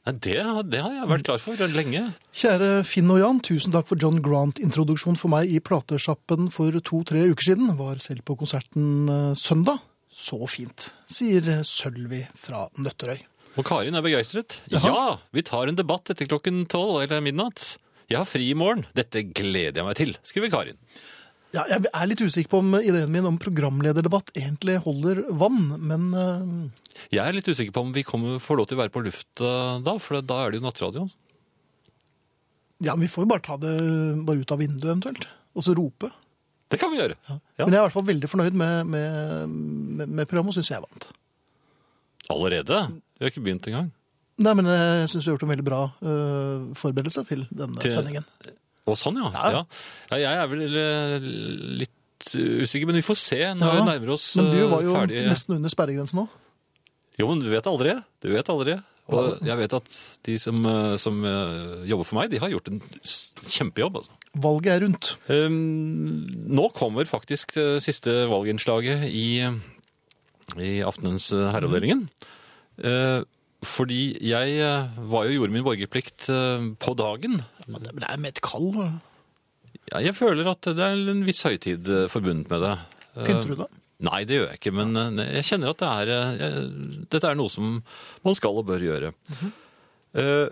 S2: Nei, det, har- det har jeg vært klar for lenge.
S1: Kjære Finn og Jan, tusen takk for John Grant-introduksjon for meg i platesjappen for to-tre uker siden. Var selv på konserten eh, søndag. Så fint, sier Sølvi fra Nøtterøy.
S2: Og Karin er begeistret.
S1: Jaha.
S2: Ja, vi tar en debatt etter klokken tolv eller midnatt. Jeg har fri i morgen. Dette gleder jeg meg til, skriver Karin.
S1: Ja, jeg er litt usikker på om ideen min om programlederdebatt egentlig holder vann, men eh,
S2: Jeg er litt usikker på om vi kommer, får lov til å være på lufta da, for da er det jo nattradioen.
S1: Ja, men vi får jo bare ta det bare ut av vinduet eventuelt, og så rope.
S2: Det kan vi gjøre. Ja.
S1: Men jeg er i hvert fall veldig fornøyd med, med, med, med programmet, og syns jeg vant.
S2: Allerede? Vi har ikke begynt engang.
S1: Nei, men jeg syns vi har gjort en veldig bra øh, forberedelse til denne
S2: Til-
S1: sendingen.
S2: Å, sånn, ja.
S1: Ja.
S2: Ja. ja. Jeg er vel eh, litt usikker, men vi får se når
S1: Ja,
S2: vi nærmer oss
S1: Men du
S2: eh,
S1: var jo
S2: ferdig.
S1: nesten under sperregrensen nå.
S2: Jo, men du vet aldri. Du vet aldri. Og jeg vet at de som, eh, som eh, jobber for meg, de har gjort en s- kjempejobb. Altså.
S1: Valget er rundt. Ehm,
S2: Um, nå kommer faktisk det siste valginnslaget i, i aftenens eh, herreavdelingen. Eh, fordi jeg eh, var jo gjorde min borgerplikt eh, på dagen.
S1: Men det men det er med et kall. øh,
S2: Ja, jeg føler at det er en viss høytid eh, forbundet med det. Eh,
S1: Pynter du det?
S2: Nei, det gjør jeg ikke, men eh, jeg kjenner at det er, eh, jeg- dette er noe som man skal og bør gjøre. Eh,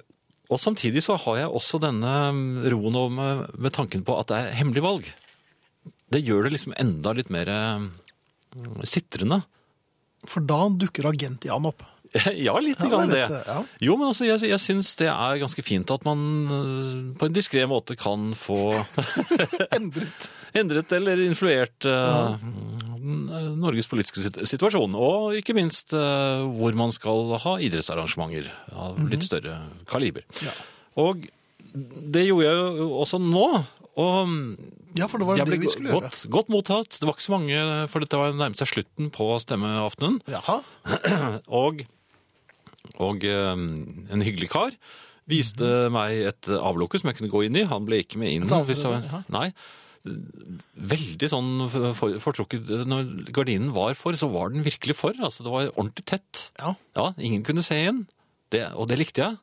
S2: Og samtidig så har jeg også denne mm, roen over meg med tanken på at det er hemmelig valg. Det gjør det liksom enda litt mer eh, mm, sitrende.
S1: For da dukker agent-Jan opp.
S2: [laughs] Ja, litt
S1: Ja,
S2: grann
S1: det
S2: det.
S1: er litt, eh, ja.
S2: Jo, men altså, jeg, jeg syns det er ganske fint at man eh, på en diskré måte kan få
S1: Endret.
S2: endret eller influert eh, n- Norges politiske sit- situasjon. Og ikke minst eh, hvor man skal ha idrettsarrangementer av
S1: Mhm.
S2: litt større kaliber. Og det gjorde jeg jo også nå. Og
S1: Ja, for det var
S2: jeg
S1: det
S2: ble
S1: vi skulle gjøre.
S2: godt, godt mottatt. Det var ikke så mange, for dette var nærmest seg slutten på stemmeaftenen.
S1: Jaha.
S2: Og, og eh, en hyggelig kar viste meg et avlukke som jeg kunne gå inn i. Han ble ikke med inn.
S1: Mhm. Et avlukke,
S2: hvis han-
S1: ja.
S2: nei. Veldig sånn for- for- fortrukket. Når gardinen var for, så var den virkelig for. Altså, det var ordentlig tett.
S1: Ja.
S2: Ja, ingen kunne se inn. Det, og det likte jeg.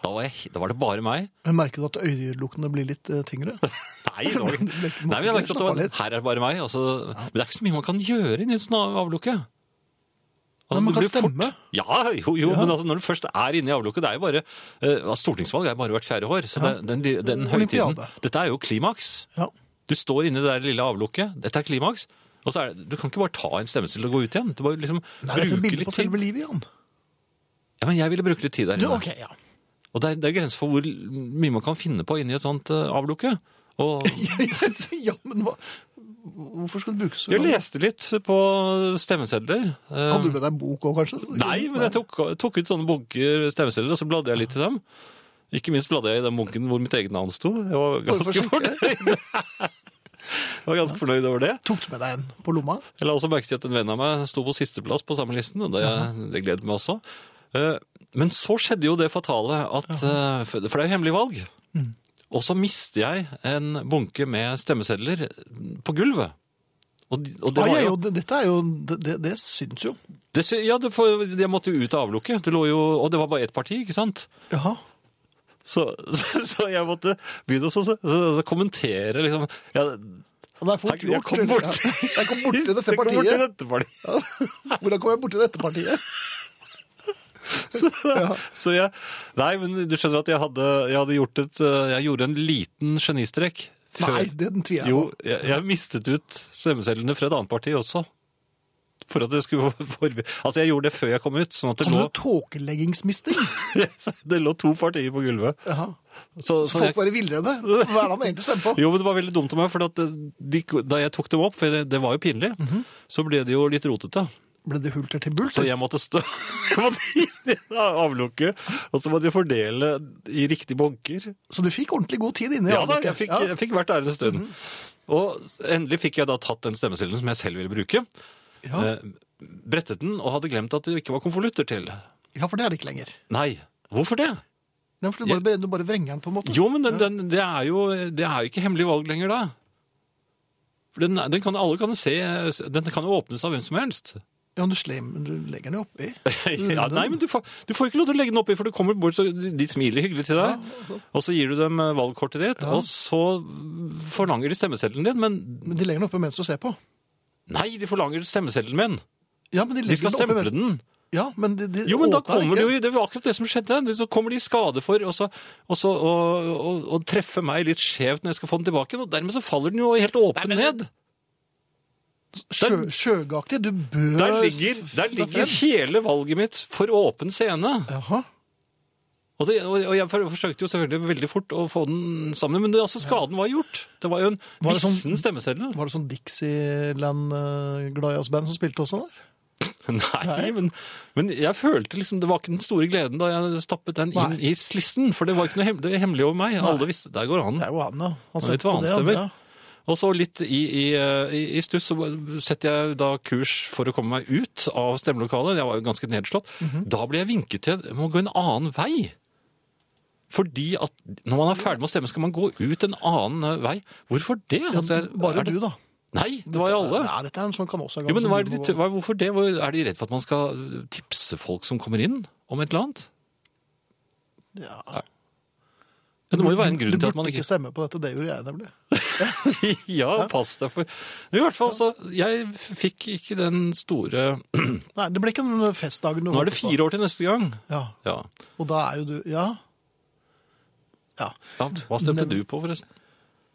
S2: Da var, jeg. da var det bare meg.
S1: Men merker du at øyelukkene blir litt eh,
S2: [laughs]
S1: tyngre?
S2: Nei, det var
S1: [laughs]
S2: ikke.
S1: Det ble ikke-
S2: Nei, men jeg merket at det
S1: Slapp
S2: var,
S1: av litt.
S2: her er det bare meg. Altså, Men det er ikke så mye man kan gjøre inni et sånt avlukke.
S1: Nei, man
S2: Altså, det
S1: kan
S2: blir fort-
S1: stemme.
S2: Ja, jo, jo men altså, når du først er inne i avlukket, det er jo bare eh, Stortingsvalg er bare hvert fjerde år, så det, den, den, høytiden
S1: Olympiade.
S2: Dette er jo klimaks.
S1: Ja.
S2: Du står inne i det der lille avlukket, dette er klimaks. Og så er det, Du kan ikke bare ta en stemmeseddel og gå ut igjen. Du må liksom
S1: Nei, dette er et
S2: bruke
S1: bilde
S2: litt
S1: på
S2: tid.
S1: selve livet, Jan.
S2: Ja, men Jeg ville bruke litt tid der
S1: Du,
S2: inne.
S1: ok, ja.
S2: Og det er, det er grenser for hvor mye man kan finne på inni et sånt eh, avlukke. Og
S1: [laughs] ja, men hva? Hvorfor skal du bruke så
S2: jeg leste litt på stemmesedler. eh,
S1: Hadde du med deg bok òg, kanskje?
S2: Nei, men jeg tok, tok ut sånne bunker stemmesedler, og så bladde jeg litt i dem. Ikke minst bladde jeg i den bunken hvor mitt eget navn sto. Jeg var
S1: for å
S2: ganske fornøyd. jeg var ganske fornøyd over det.
S1: Tok du med deg en på lomma?
S2: Jeg la også merke til at en venn av meg sto på sisteplass på samme listen, og det, det gledet meg også. Eh, Men så skjedde jo det fatale at eh, For for det er jo hemmelig valg.
S1: Mm.
S2: Og så mister jeg en bunke med stemmesedler på gulvet. Og, de- og det
S1: Ja,
S2: var
S1: ja,
S2: jo
S1: jo, det, dette er jo det, det, det syns jo.
S2: det, sy- Ja, det, for jeg måtte jo ut av avlukket. Det lå jo, og det var bare ett parti, ikke sant?
S1: Jaha.
S2: Så, [laughs] så, så jeg måtte begynne å så, så, så kommentere liksom ja,
S1: Ja, det er fort
S2: Takk, jeg
S1: gjort,
S2: kom
S1: tror
S2: bort.
S1: Ja, [laughs] Jeg kom
S2: [laughs]
S1: bort til dette
S2: det kommer til
S1: partiet.
S2: dette
S1: [laughs]
S2: partiet.
S1: Hvordan kom jeg bort til dette partiet?
S2: Så, så jeg Nei, men du skjønner at jeg hadde, jeg hadde gjort et eh, Jeg gjorde en liten genistrek. før-
S1: Nei, den tviler jeg
S2: Jo,
S1: på.
S2: jeg, jeg mistet ut stemmesedlene fra et annet parti også. For at det skulle [laughs] for, Altså, jeg gjorde det før jeg kom ut, sånn at det
S1: Kan
S2: lå,
S1: du tåkeleggingsmisting?
S2: [laughs] det lå to partier på gulvet.
S1: Jaha.
S2: Så,
S1: Så
S2: så jeg,
S1: folk bare villredde? Hva er det han egentlig stemmer på?
S2: Jo, men det var veldig eh,
S1: Mhm.
S2: dumt av meg, for at de, da jeg tok dem opp, for det, det var jo pinlig, så ble de jo litt rotete.
S1: Ble det hulter til bulter?
S2: Så jeg måtte stå [laughs] jeg måtte inn i avlukket, og så måtte jeg fordele i riktige bunker.
S1: Så du fikk ordentlig god tid inne? i
S2: Ja da,
S1: avlukket.
S2: jeg fikk, eh,
S1: Ja. Mhm.
S2: jeg fikk hvert ærede stund. Og endelig fikk jeg da tatt den stemmecellen som jeg selv ville bruke.
S1: Ja.
S2: Eh, brettet den og hadde glemt at det ikke var konvolutter til.
S1: ja, for det er det ikke lenger.
S2: Nei, hvorfor det?
S1: Ja, for du bare, du bare vrenger den på en måte.
S2: Jo, men den, den, det er jo det er jo ikke hemmelig valg lenger da. For Den, den kan, alle kan se, den kan jo åpnes av hvem som helst.
S1: [laughs] Ja, men du, slem, du legger den jo oppi.
S2: ja, nei, men du får, du får ikke lov til å legge den oppi, for du kommer bort, så de smiler hyggelig til deg.
S1: altså.
S2: og så gir du dem eh, valgkortet ditt, og så forlanger de stemmeseddelen din. Men
S1: Men de legger den oppe mens du ser på.
S2: nei, de forlanger stemmeseddelen min!
S1: Ja, men de, legger
S2: De skal
S1: den oppe
S2: stemple
S1: mens-
S2: den.
S1: Ja, men de, de
S2: Jo, men da
S1: åpner
S2: kommer
S1: ikke.
S2: de jo i Det var akkurat det som skjedde. De- Så kommer de i skade for og så, og så, og, og, og treffe meg litt skjevt når jeg skal få den tilbake. Og dermed så faller den jo helt åpen ned.
S1: Sjø, Sjøgaktig. Du bør
S2: Der ligger, der ligger hele valget mitt for åpen scene.
S1: Jaha.
S2: Og, det, og og jeg for- forsøkte jo selvfølgelig veldig fort å få den sammen, men det, altså, skaden var gjort. Det var jo en
S1: Var det sånn-
S2: vissen stemmeseddel. [laughs]
S1: Var det sånn Dixieland-Gladias-band som spilte også der?
S2: Nei, Men, men jeg følte liksom Det var ikke den store gleden da jeg stappet den inn
S1: Nei.
S2: i slissen, for det var ikke noe hem- det er hemmelig over meg. Alle visste Der går han.
S1: Det er jo han, ja. Han
S2: vet
S1: setter
S2: hva
S1: på
S2: han
S1: det,
S2: stemmer.
S1: ja.
S2: Og så litt i, i, eh, i- i stuss så setter jeg da kurs for å komme meg ut av stemmelokalet. Jeg var jo ganske nedslått. Da ble jeg vinket til jeg må gå en annen vei. Fordi at når man er ferdig med å stemme, skal man gå ut en annen eh, vei. Hvorfor det?
S1: Ja,
S2: Altså, er-
S1: bare
S2: er det...
S1: du, da.
S2: Nei, det var jo alle.
S1: Nei, dette er en sånn kanossagang.
S2: Jo, men
S1: som
S2: hva er,
S1: du
S2: det,
S1: må-
S2: de- hva, hvorfor det? Hvor- Er de redd for at man skal tipse folk som kommer inn om et eller annet?
S1: ja.
S2: Ja, det må jo være en grunn til at
S1: Du
S2: man
S1: burde
S2: ikke
S1: ikke stemme på dette, det gjorde jeg nemlig.
S2: [laughs] Ja, pass deg for I hvert fall, så Jeg fikk ikke den store
S1: Nei, det ble ikke den festdagen du
S2: Nå er det fire år til neste gang.
S1: Ja,
S2: Ja.
S1: og da er jo du Ja. ja.
S2: ja hva stemte du på, forresten?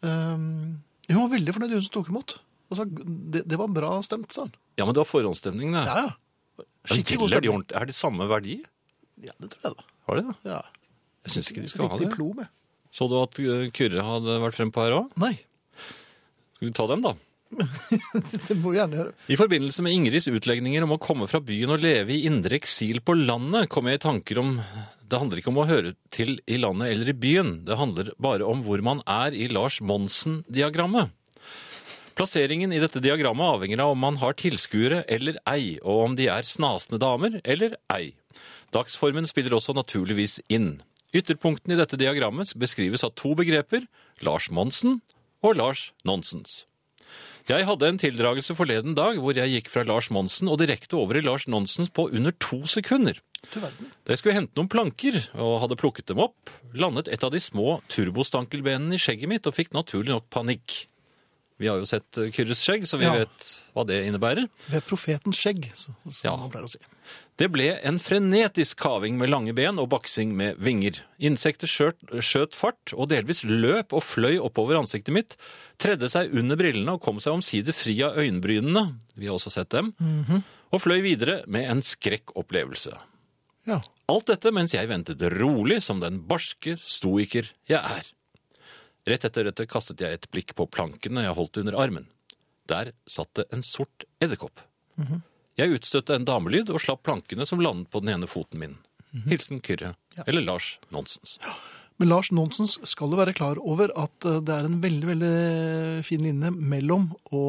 S1: Um, hun var veldig fornøyd, hun som tok imot. Og sa det, det var bra stemt, sa hun.
S2: Ja, men det var forhåndsstemning, det.
S1: Ja, ja.
S2: Men
S1: Skikkelig god
S2: teller de
S1: stemning.
S2: ordentlig? Er det samme verdi?
S1: Ja, det tror jeg, da.
S2: Har de det?
S1: Ja.
S2: Jeg syns ikke de skal
S1: Fikk
S2: ha det.
S1: diplom, jeg.
S2: Så du at eh, Kyrre hadde vært frem på her òg?
S1: Nei, [laughs]
S2: Skal vi ta den, da?
S1: det må vi gjerne gjøre.
S2: I forbindelse med Ingrids utlegninger om å komme fra byen og leve i indre eksil på landet, kom jeg i tanker om det handler ikke om å høre til i landet eller i byen. Det handler bare om hvor man er i Lars Monsen-diagrammet. Plasseringen i dette diagrammet avhenger av om man har tilskuere eller ei, og om de er snasende damer eller ei. Dagsformen spiller også naturligvis inn. Ytterpunktene i dette diagrammet beskrives av to begreper, Lars Monsen og Lars Nonsens. Jeg hadde en tildragelse forleden dag hvor jeg gikk fra Lars Monsen og direkte over i Lars Nonsens på under to sekunder.
S1: Du verden.
S2: Da jeg skulle hente noen planker og hadde plukket dem opp, landet et av de små turbostankelbenene i skjegget mitt og fikk naturlig nok panikk. Vi har jo sett eh, Kyrres skjegg, så vi
S1: Ja.
S2: vet hva det innebærer.
S1: Ved profetens skjegg, så- som
S2: Ja.
S1: han pleier å si.
S2: Det ble en frenetisk kaving med lange ben og baksing med vinger. Insekter skjøt, skjøt fart og delvis løp og fløy oppover ansiktet mitt, tredde seg under brillene og kom seg omsider fri av øyenbrynene, vi har også sett dem, og fløy videre med en skrekkopplevelse.
S1: Ja.
S2: Alt dette mens jeg ventet rolig som den barske stoiker jeg er. Rett etter dette kastet jeg et blikk på plankene jeg holdt under armen. Der satt det en sort edderkopp. Jeg utstøtte en damelyd og slapp plankene som landet på den ene foten min. Hilsen Kyrre. Eller Lars Nonsens.
S1: Men Lars Nonsens skal du være klar over at eh, det er en veldig veldig fin linje mellom å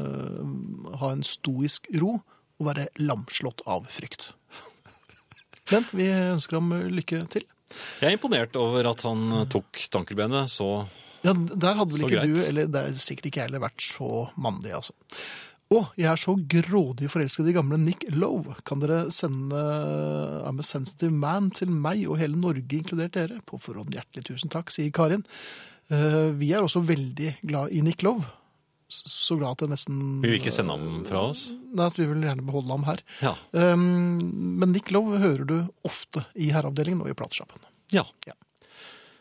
S1: eh, ha en stoisk ro og være lamslått av frykt. [laughs] Bent, vi ønsker ham lykke til.
S2: Jeg er imponert over at han eh, tok stankelbenet, så
S1: Ja, Der hadde vel
S2: Så
S1: ikke
S2: greit.
S1: du, eller det er sikkert ikke jeg heller, vært så mandig, altså. Å, jeg er så grådig forelsket i gamle Nick Lowe. Kan dere sende I'm a sensitive man til meg og hele Norge, inkludert dere? På forhånd hjertelig tusen takk, sier Karin. Eh, vi er også veldig glad i Nick Lowe. S- Så glad at jeg nesten
S2: vi vil ikke sende ham fra oss.
S1: Nei, at vi vil gjerne beholde ham her.
S2: Ja.
S1: Um, men Nick Lowe hører du ofte i herreavdelingen og i platesjappen.
S2: ja.
S1: Ja.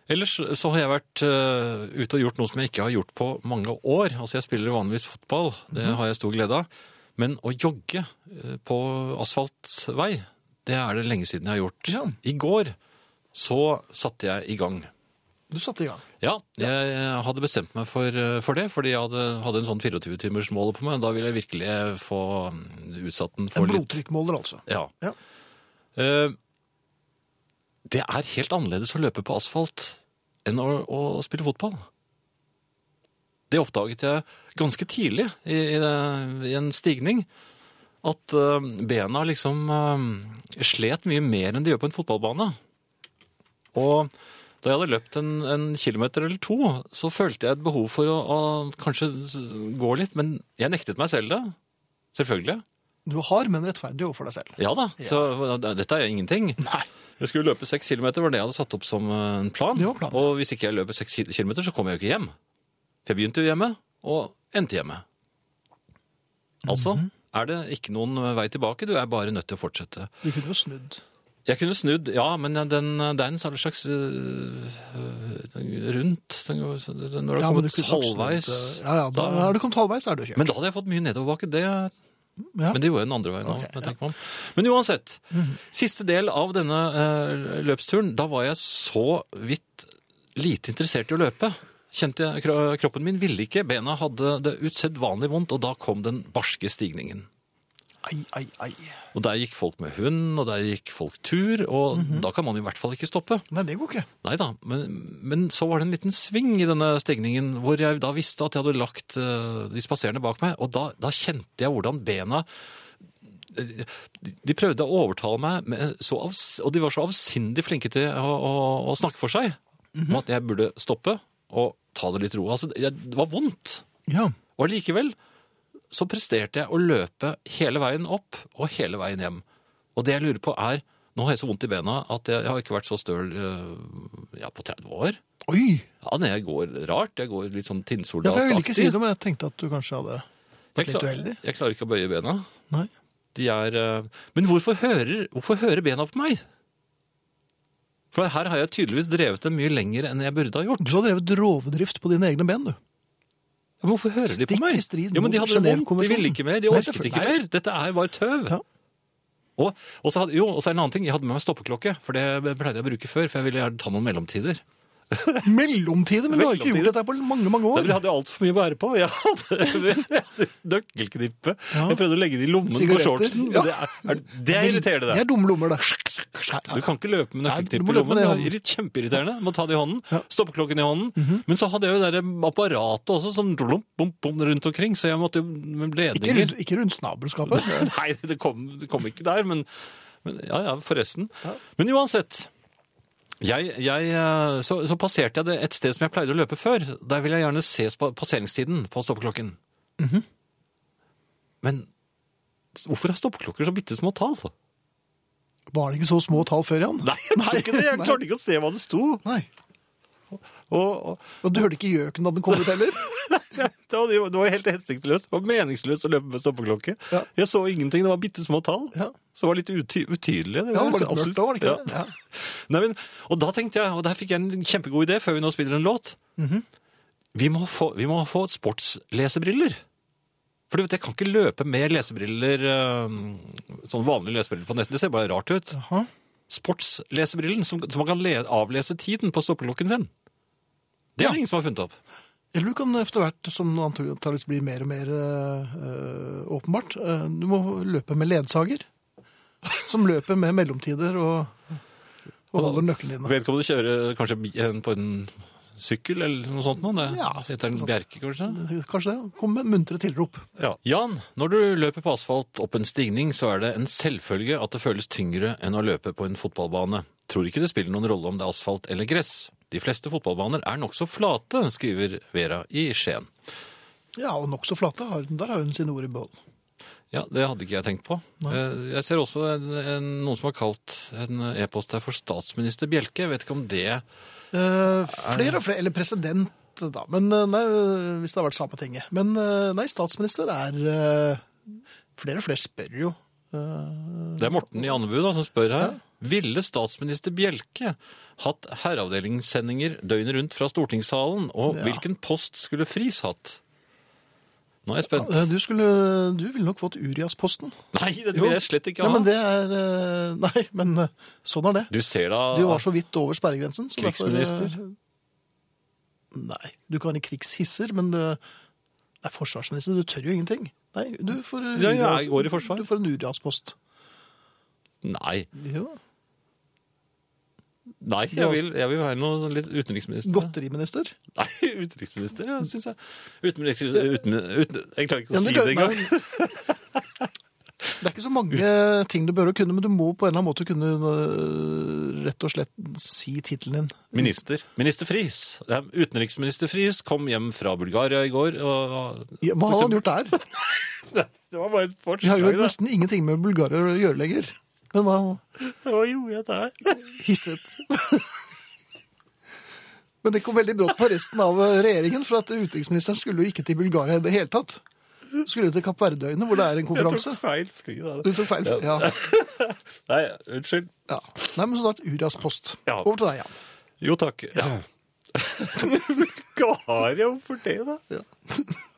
S2: Ellers så har jeg vært eh, ute og gjort noe som jeg ikke har gjort på mange år. Altså jeg spiller vanligvis fotball, det
S1: Mhm.
S2: har jeg stor glede av. Men å jogge eh, på asfaltvei, det er det lenge siden jeg har gjort.
S1: Ja.
S2: I går så satte jeg i gang.
S1: Du satte i gang.
S2: Ja, jeg jeg hadde bestemt meg for, eh, for det, fordi jeg hadde, hadde en sånn 24-timersmål på meg. Da ville jeg virkelig eh, få mm, utsatt den for
S1: En
S2: litt
S1: blodtrykkmåler, altså.
S2: Ja.
S1: Ja.
S2: Eh, det er helt annerledes å løpe på asfalt enn å, å spille fotball. Det oppdaget jeg ganske tidlig i, i, det- i en stigning. At eh, bena liksom eh, slet mye mer enn de gjør på en fotballbane. Og da jeg hadde løpt en, en kilometer eller to, så følte jeg et behov for å, å kanskje s- gå litt. Men jeg nektet meg selv det. Selvfølgelig.
S1: Du har, men rettferdig overfor deg selv.
S2: Ja da, så dette er ingenting. Nei. Jeg skulle løpe seks kilometer, var det jeg hadde satt opp som eh, en plan.
S1: Det var planen.
S2: Og hvis ikke jeg løper seks ki- kilometer, så kommer jeg jo ikke hjem. For jeg begynte jo hjemme, og endte hjemme. Altså
S1: Mhm.
S2: er det ikke noen vei tilbake, du er bare nødt til å fortsette.
S1: Du kunne jo snudd.
S2: Jeg kunne snudd, ja, men den, det er en sånn slags øh, øh, rundt den, den, Når det har
S1: men du
S2: kommet
S1: kunne nok snudd,
S2: halvveis
S1: eh, Ja, ja, da, har du kommet halvveis, er du kjørt.
S2: Men da hadde jeg fått mye nedoverbakke. Det
S1: ja.
S2: men det gjorde jeg den andre veien òg.
S1: Ok, ja. Mhm.
S2: tenker meg om. Men uansett. Siste del av denne eh, løpsturen, da var jeg så vidt lite interessert i å løpe. Kjente jeg, kro- Kroppen min ville ikke, bena hadde det usedvanlig vondt, og da kom den barske stigningen.
S1: Ai, ai, ai.
S2: Og der gikk folk med hund, og der gikk folk tur, og
S1: Mhm.
S2: da kan man i hvert fall ikke stoppe.
S1: Nei, det går ikke.
S2: Nei da, men, men så var det en liten sving i denne stigningen, hvor jeg da visste at jeg hadde lagt eh, de spaserende bak meg, og da, da kjente jeg hvordan bena eh, de de prøvde å overtale meg, med, så avs, og de var så avsindig flinke til å, å, å snakke for seg, om at jeg burde stoppe og ta det litt ro. Altså, det det var vondt.
S1: Ja.
S2: Og allikevel så presterte jeg å løpe hele veien opp og hele veien hjem. Og det jeg lurer på er Nå har jeg så vondt i bena at jeg, jeg har ikke vært så støl eh, ja, på 30 år.
S1: Oi!
S2: Ja, nei, jeg går rart. Jeg går litt sånn
S1: Ja, for jeg ville ikke si
S2: tinnsoldataktig.
S1: det, men jeg tenkte at du kanskje hadde
S2: jeg,
S1: vært litt
S2: klar,
S1: uheldig.
S2: jeg klarer ikke å bøye bena.
S1: Nei.
S2: De er eh, Men hvorfor hører, hvorfor hører bena på meg? For her har jeg tydeligvis drevet dem mye lenger enn jeg burde ha gjort.
S1: Du har drevet rovdrift på dine egne ben, du.
S2: Ja, men hvorfor hører de på
S1: Stikk
S2: meg?
S1: i strid
S2: ja, men De
S1: mot
S2: hadde det vondt, de
S1: Genèvekonvensjonen.
S2: ville ikke mer, de
S1: Nei,
S2: orket ikke
S1: selvfølgelig.
S2: mer. Dette er bare tøv.
S1: Ja.
S2: Og, og, så hadde, jo, og så er det en annen ting, jeg hadde med meg stoppeklokke, for det pleide jeg å bruke før, for jeg ville gjerne ta noen mellomtider.
S1: Mellomtiden, men du har ikke gjort
S2: Mellomtiden.
S1: dette her på mange, mange
S2: Da
S1: år.
S2: ville jeg hadde jeg altfor mye å bære på. Jeg hadde, [laughs] jeg hadde nøkkelknippe.
S1: Ja.
S2: Jeg prøvde å legge det i lommen
S1: Sigaretter.
S2: på shortsen. men Det, er, er, det er irriterende,
S1: Det
S2: det.
S1: er dumme lommer, det.
S2: Du kan ikke løpe med
S1: Nei, du må løpe
S2: nøkkelknippe i
S1: med
S2: lommen.
S1: det i
S2: Det er irrit- kjempeirriterende. Må ta det i hånden.
S1: Ja. Mhm.
S2: Stoppeklokken i hånden. Men så hadde jeg jo det der apparatet også, som blump, blump, blump rundt omkring, så jeg måtte jo med
S1: Ikke
S2: ledninger.
S1: rundt, ikke rundt snabelskapet.
S2: [laughs] Nei, det kom, det kom ikke der, men, men ja, ja, forresten. Men uansett, jeg, jeg, eh, så, så passerte jeg det et sted som jeg pleide å løpe før. Der ville jeg gjerne se spa- passeringstiden på stoppeklokken. Mhm. Men s- hvorfor har stoppeklokker så bitte små tall?
S1: Var det ikke så små tall før, Jan?
S2: [laughs] Nei, det er ikke det. jeg klarte ikke å se hva det sto.
S1: Nei.
S2: Og, og,
S1: Og du hørte ikke gjøken da den kom ut heller?
S2: det, var, det var helt hensiktløst. Det var meningsløst å løpe med stoppeklokke.
S1: Ja.
S2: Jeg så ingenting, det var bitte små tall.
S1: Ja.
S2: Som var litt uty utydelige.
S1: Ja, det var litt
S2: absolutt-
S1: mørkt da, var det ikke
S2: Ja.
S1: det? Ja.
S2: Nei, men, og da tenkte jeg, og der fikk jeg en kjempegod idé før vi nå spiller en låt. vi, må få, vi må få sportslesebriller. For du vet, jeg kan ikke løpe med lesebriller, eh, sånn vanlige lesebriller på nettet. Det ser bare rart ut.
S1: Jaha.
S2: Sportslesebrillen, som, som man kan le, avlese tiden på stoppeklokken sin. Det er
S1: Ja.
S2: det ingen som har funnet opp.
S1: Eller du kan etter hvert, som antakeligvis blir mer og mer eh, åpenbart, eh, du må løpe med ledsager. Som løper med mellomtider og, og holder nøklene dine.
S2: Vedkommende kjører kanskje bi- en- på en sykkel eller noe sånt. Noe. Det
S1: Ja.
S2: heter en bjerke, kanskje.
S1: Kanskje det. Kom med muntre tilrop.
S2: Jan, når du løper på asfalt opp en stigning, så er det en selvfølge at det føles tyngre enn å løpe på en fotballbane. Tror ikke det spiller noen rolle om det er asfalt eller gress. De fleste fotballbaner er nokså flate, skriver Vera i Skien.
S1: Ja, og nokså flate. har- Der har hun sine ord i behold.
S2: Ja, det hadde ikke jeg tenkt på. Eh, Jeg ser også en, en, noen som har kalt en e-post her for statsminister Bjelke. Jeg vet ikke om det
S1: Eh, flere og flere, eller president da, men eh, nei, hvis det har vært Sametinget. Men eh, nei, statsminister er eh, Flere og flere spør jo. eh,
S2: Det er Morten i Andebu da, som spør her. Ville statsminister Bjelke hatt herreavdelingssendinger døgnet rundt fra stortingssalen, og
S1: Ja.
S2: hvilken post skulle Friis hatt? Nå er jeg spent.
S1: eh, du skulle Du ville nok fått Urias-posten.
S2: Nei, det
S1: Jo.
S2: vil jeg slett ikke
S1: Nei,
S2: ha.
S1: men det er eh, [laughs] Nei, men eh, sånn er det.
S2: Du ser da
S1: Du var så vidt over sperregrensen. så derfor, eh,
S2: Krigsminister.
S1: Nei. Du kan være krigshisser, men du er forsvarsminister. Du tør jo ingenting. Nei, du får, eh,
S2: Ja, ja, jeg går i forsvar.
S1: Du får en uriaspost.
S2: Nei.
S1: Jo.
S2: Nei, jeg
S1: altså-
S2: vil, jeg vil være noe sånn litt utenriksminister.
S1: Godteriminister.
S2: Nei, [laughs] utenriksminister, ja, syns jeg. Utenriksminister uten, uten, Jeg klarer ikke
S1: Ja,
S2: å
S1: men
S2: si
S1: du-
S2: det engang.
S1: nei. [laughs] Det er ikke så mange ting du bør å kunne, men du må på en eller annen måte kunne øh, rett og slett si tittelen din.
S2: Minister. Minister Friis. Ja, Utenriksminister Friis kom hjem fra Bulgaria i går. Og, og,
S1: Ja, Hva hadde han gjort der?
S2: [laughs] Det var bare et
S1: Vi har
S2: forslag,
S1: jo
S2: da.
S1: nesten ingenting med Bulgaria å gjøre lenger. Men hva
S2: Hva gjorde jeg der? [laughs]
S1: hisset? Men det kom veldig brått på resten av regjeringen, for at utenriksministeren skulle jo ikke til Bulgaria i det hele tatt. Hun Skulle til Kapp Verdøyene, hvor det er en
S2: Jeg tok
S1: konferanse.
S2: feil fly, da.
S1: Du tok feil. Ja.
S2: Nei, unnskyld.
S1: ja. Nei, men så da Urias post.
S2: Ja.
S1: Over til deg, ja.
S2: Jo takk. [laughs] Ja. Bulgaria, hvorfor det, da? [laughs]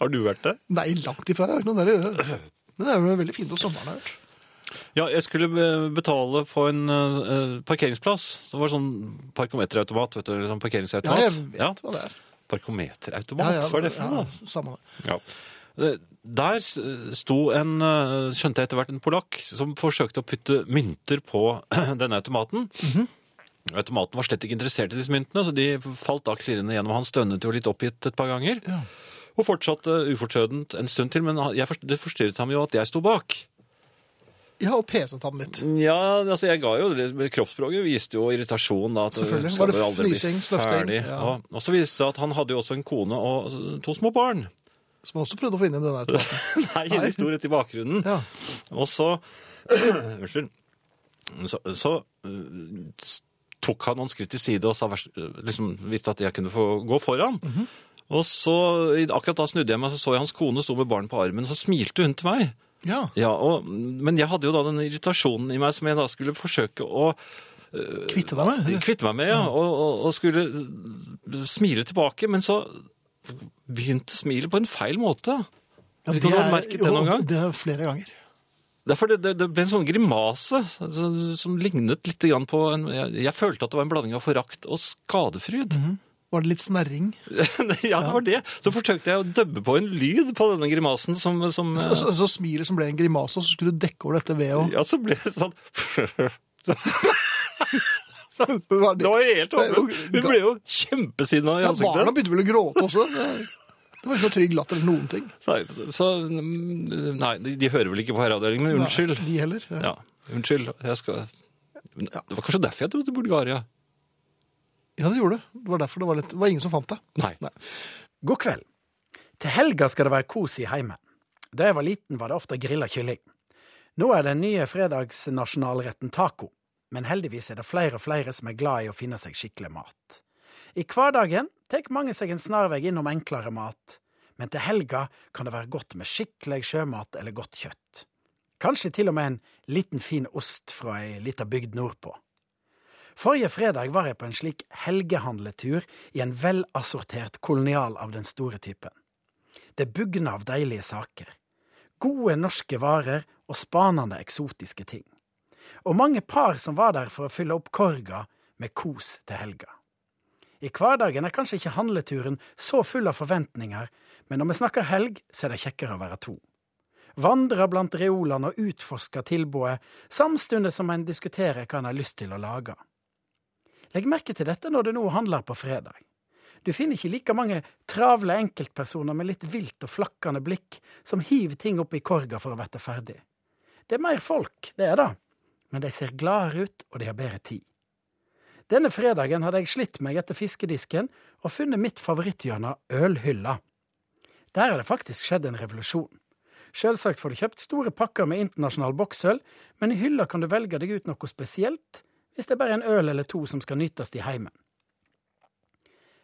S2: Har du vært der?
S1: Nei, langt ifra. Jeg har ikke noe der å gjøre. Men det er jo veldig fint om sommeren, har jeg hørt.
S2: Ja, jeg skulle be- betale på en eh, parkeringsplass. Så det var sånn parkometerautomat, vet du. Eller sånn
S1: Ja,
S2: parkeringsautomat.
S1: jeg vet
S2: Ja.
S1: hva det er.
S2: Parkometerautomat, hva er det for noe? da?
S1: ja, samme det.
S2: Ja. Der s- sto en, eh, skjønte jeg etter hvert, en polakk som forsøkte å putte mynter på [clears throat] denne automaten. Automaten var slett ikke interessert i disse myntene, så de falt da klirrende gjennom. Han stønnet jo litt oppgitt et par ganger,
S1: Ja.
S2: og fortsatte ufortrødent en stund til, men han- jeg, forst- det forstyrret ham jo at jeg sto bak.
S1: Ja, og peset han litt.
S2: Ja, altså jeg ga jo det. Kroppsspråket viste jo irritasjon. Da, at
S1: Selvfølgelig.
S2: skal
S1: Var det
S2: vel aldri bli
S1: fnysing, snøfting?
S2: ferdig.
S1: Ja.
S2: Ja. Og så viste det seg at han hadde jo også en kone og to små barn.
S1: Som han også prøvde å få inn i denne automaten.
S2: [laughs] Nei, de sto rett i bakgrunnen.
S1: Ja.
S2: Og så [clears throat] Unnskyld. Så, så øh, s- tok han noen skritt til side og sa, vers- øh, liksom, visste at jeg kunne få gå foran. Og så, i- akkurat da snudde jeg meg, så så jeg hans kone sto med barn på armen, så smilte hun til meg.
S1: ja.
S2: Ja, og, Men jeg hadde jo da den irritasjonen i meg som jeg da skulle forsøke å
S1: Kvitte deg med.
S2: kvitte meg med, ja, og, og, og skulle øh, smile tilbake. Men så begynte smilet på en feil måte.
S1: Ja,
S2: Vet ikke om du har merket det noen
S1: jo,
S2: gang?
S1: Det er flere ganger.
S2: Derfor det, det, det ble en sånn grimase som, som lignet litt grann på en, jeg, jeg følte at det var en blanding av forakt og skadefryd.
S1: Var det litt snerring?
S2: [laughs] ja, det var det. Så forsøkte jeg å døbbe på en lyd på denne grimasen som, som
S1: Så, så, så smilet som ble en grimase, og så skulle du dekke over dette ved og
S2: eh, Ja, så ble det sånn
S1: [laughs]
S2: [laughs]
S1: Hva er
S2: Det var helt
S1: er jo-
S2: håpløst. Hun ble jo kjempesinna i
S1: Ja, barna
S2: ansiktet.
S1: begynte vel å gråte også. Det var ikke noe trygg latter eller noen ting.
S2: Nei, så, mm, nei, de, de hører vel ikke på herreavdelingen, men [laughs] unnskyld.
S1: Nei, de heller. Ja.
S2: Ja, unnskyld. Jeg skal Det var kanskje derfor jeg dro til Bulgaria.
S1: ja, det gjorde det. Det var derfor det var litt Det var ingen som fant deg.
S2: Nei.
S1: Nei.
S4: God kveld. Til helga skal det være kos i heimen. Da jeg var liten, var det ofte grilla kylling. Nå er den nye fredagsnasjonalretten taco, men heldigvis er det flere og flere som er glad i å finne seg skikkelig mat. I hverdagen tar mange seg en snarvei innom enklere mat, men til helga kan det være godt med skikkelig sjømat eller godt kjøtt. Kanskje til og med en liten fin ost fra ei lita bygd nordpå. Forrige fredag var jeg på en slik helgehandletur i en velassortert kolonial av den store typen. Det bugna av deilige saker. Gode norske varer og spanende eksotiske ting. Og mange par som var der for å fylle opp korga med kos til helga. I hverdagen er kanskje ikke handleturen så full av forventninger, men når vi snakker helg, så er det kjekkere å være to vandrer blant reolene og utforsker tilbudet, samtidig som en diskuterer hva en har lyst til å lage. Legg merke til dette når du nå handler på fredag. Du finner ikke like mange travle enkeltpersoner med litt vilt og flakkende blikk som hiver ting opp i korga for å bli ferdig. Det er mer folk, det er det, men de ser gladere ut, og de har bedre tid. Denne fredagen hadde jeg slitt meg etter fiskedisken og funnet mitt favoritthjørne, ølhylla. Der er det faktisk skjedd en revolusjon. Selvsagt får du kjøpt store pakker med internasjonal boksøl, men i hylla kan du velge deg ut noe spesielt hvis det er bare en øl eller to som skal nytes i heimen.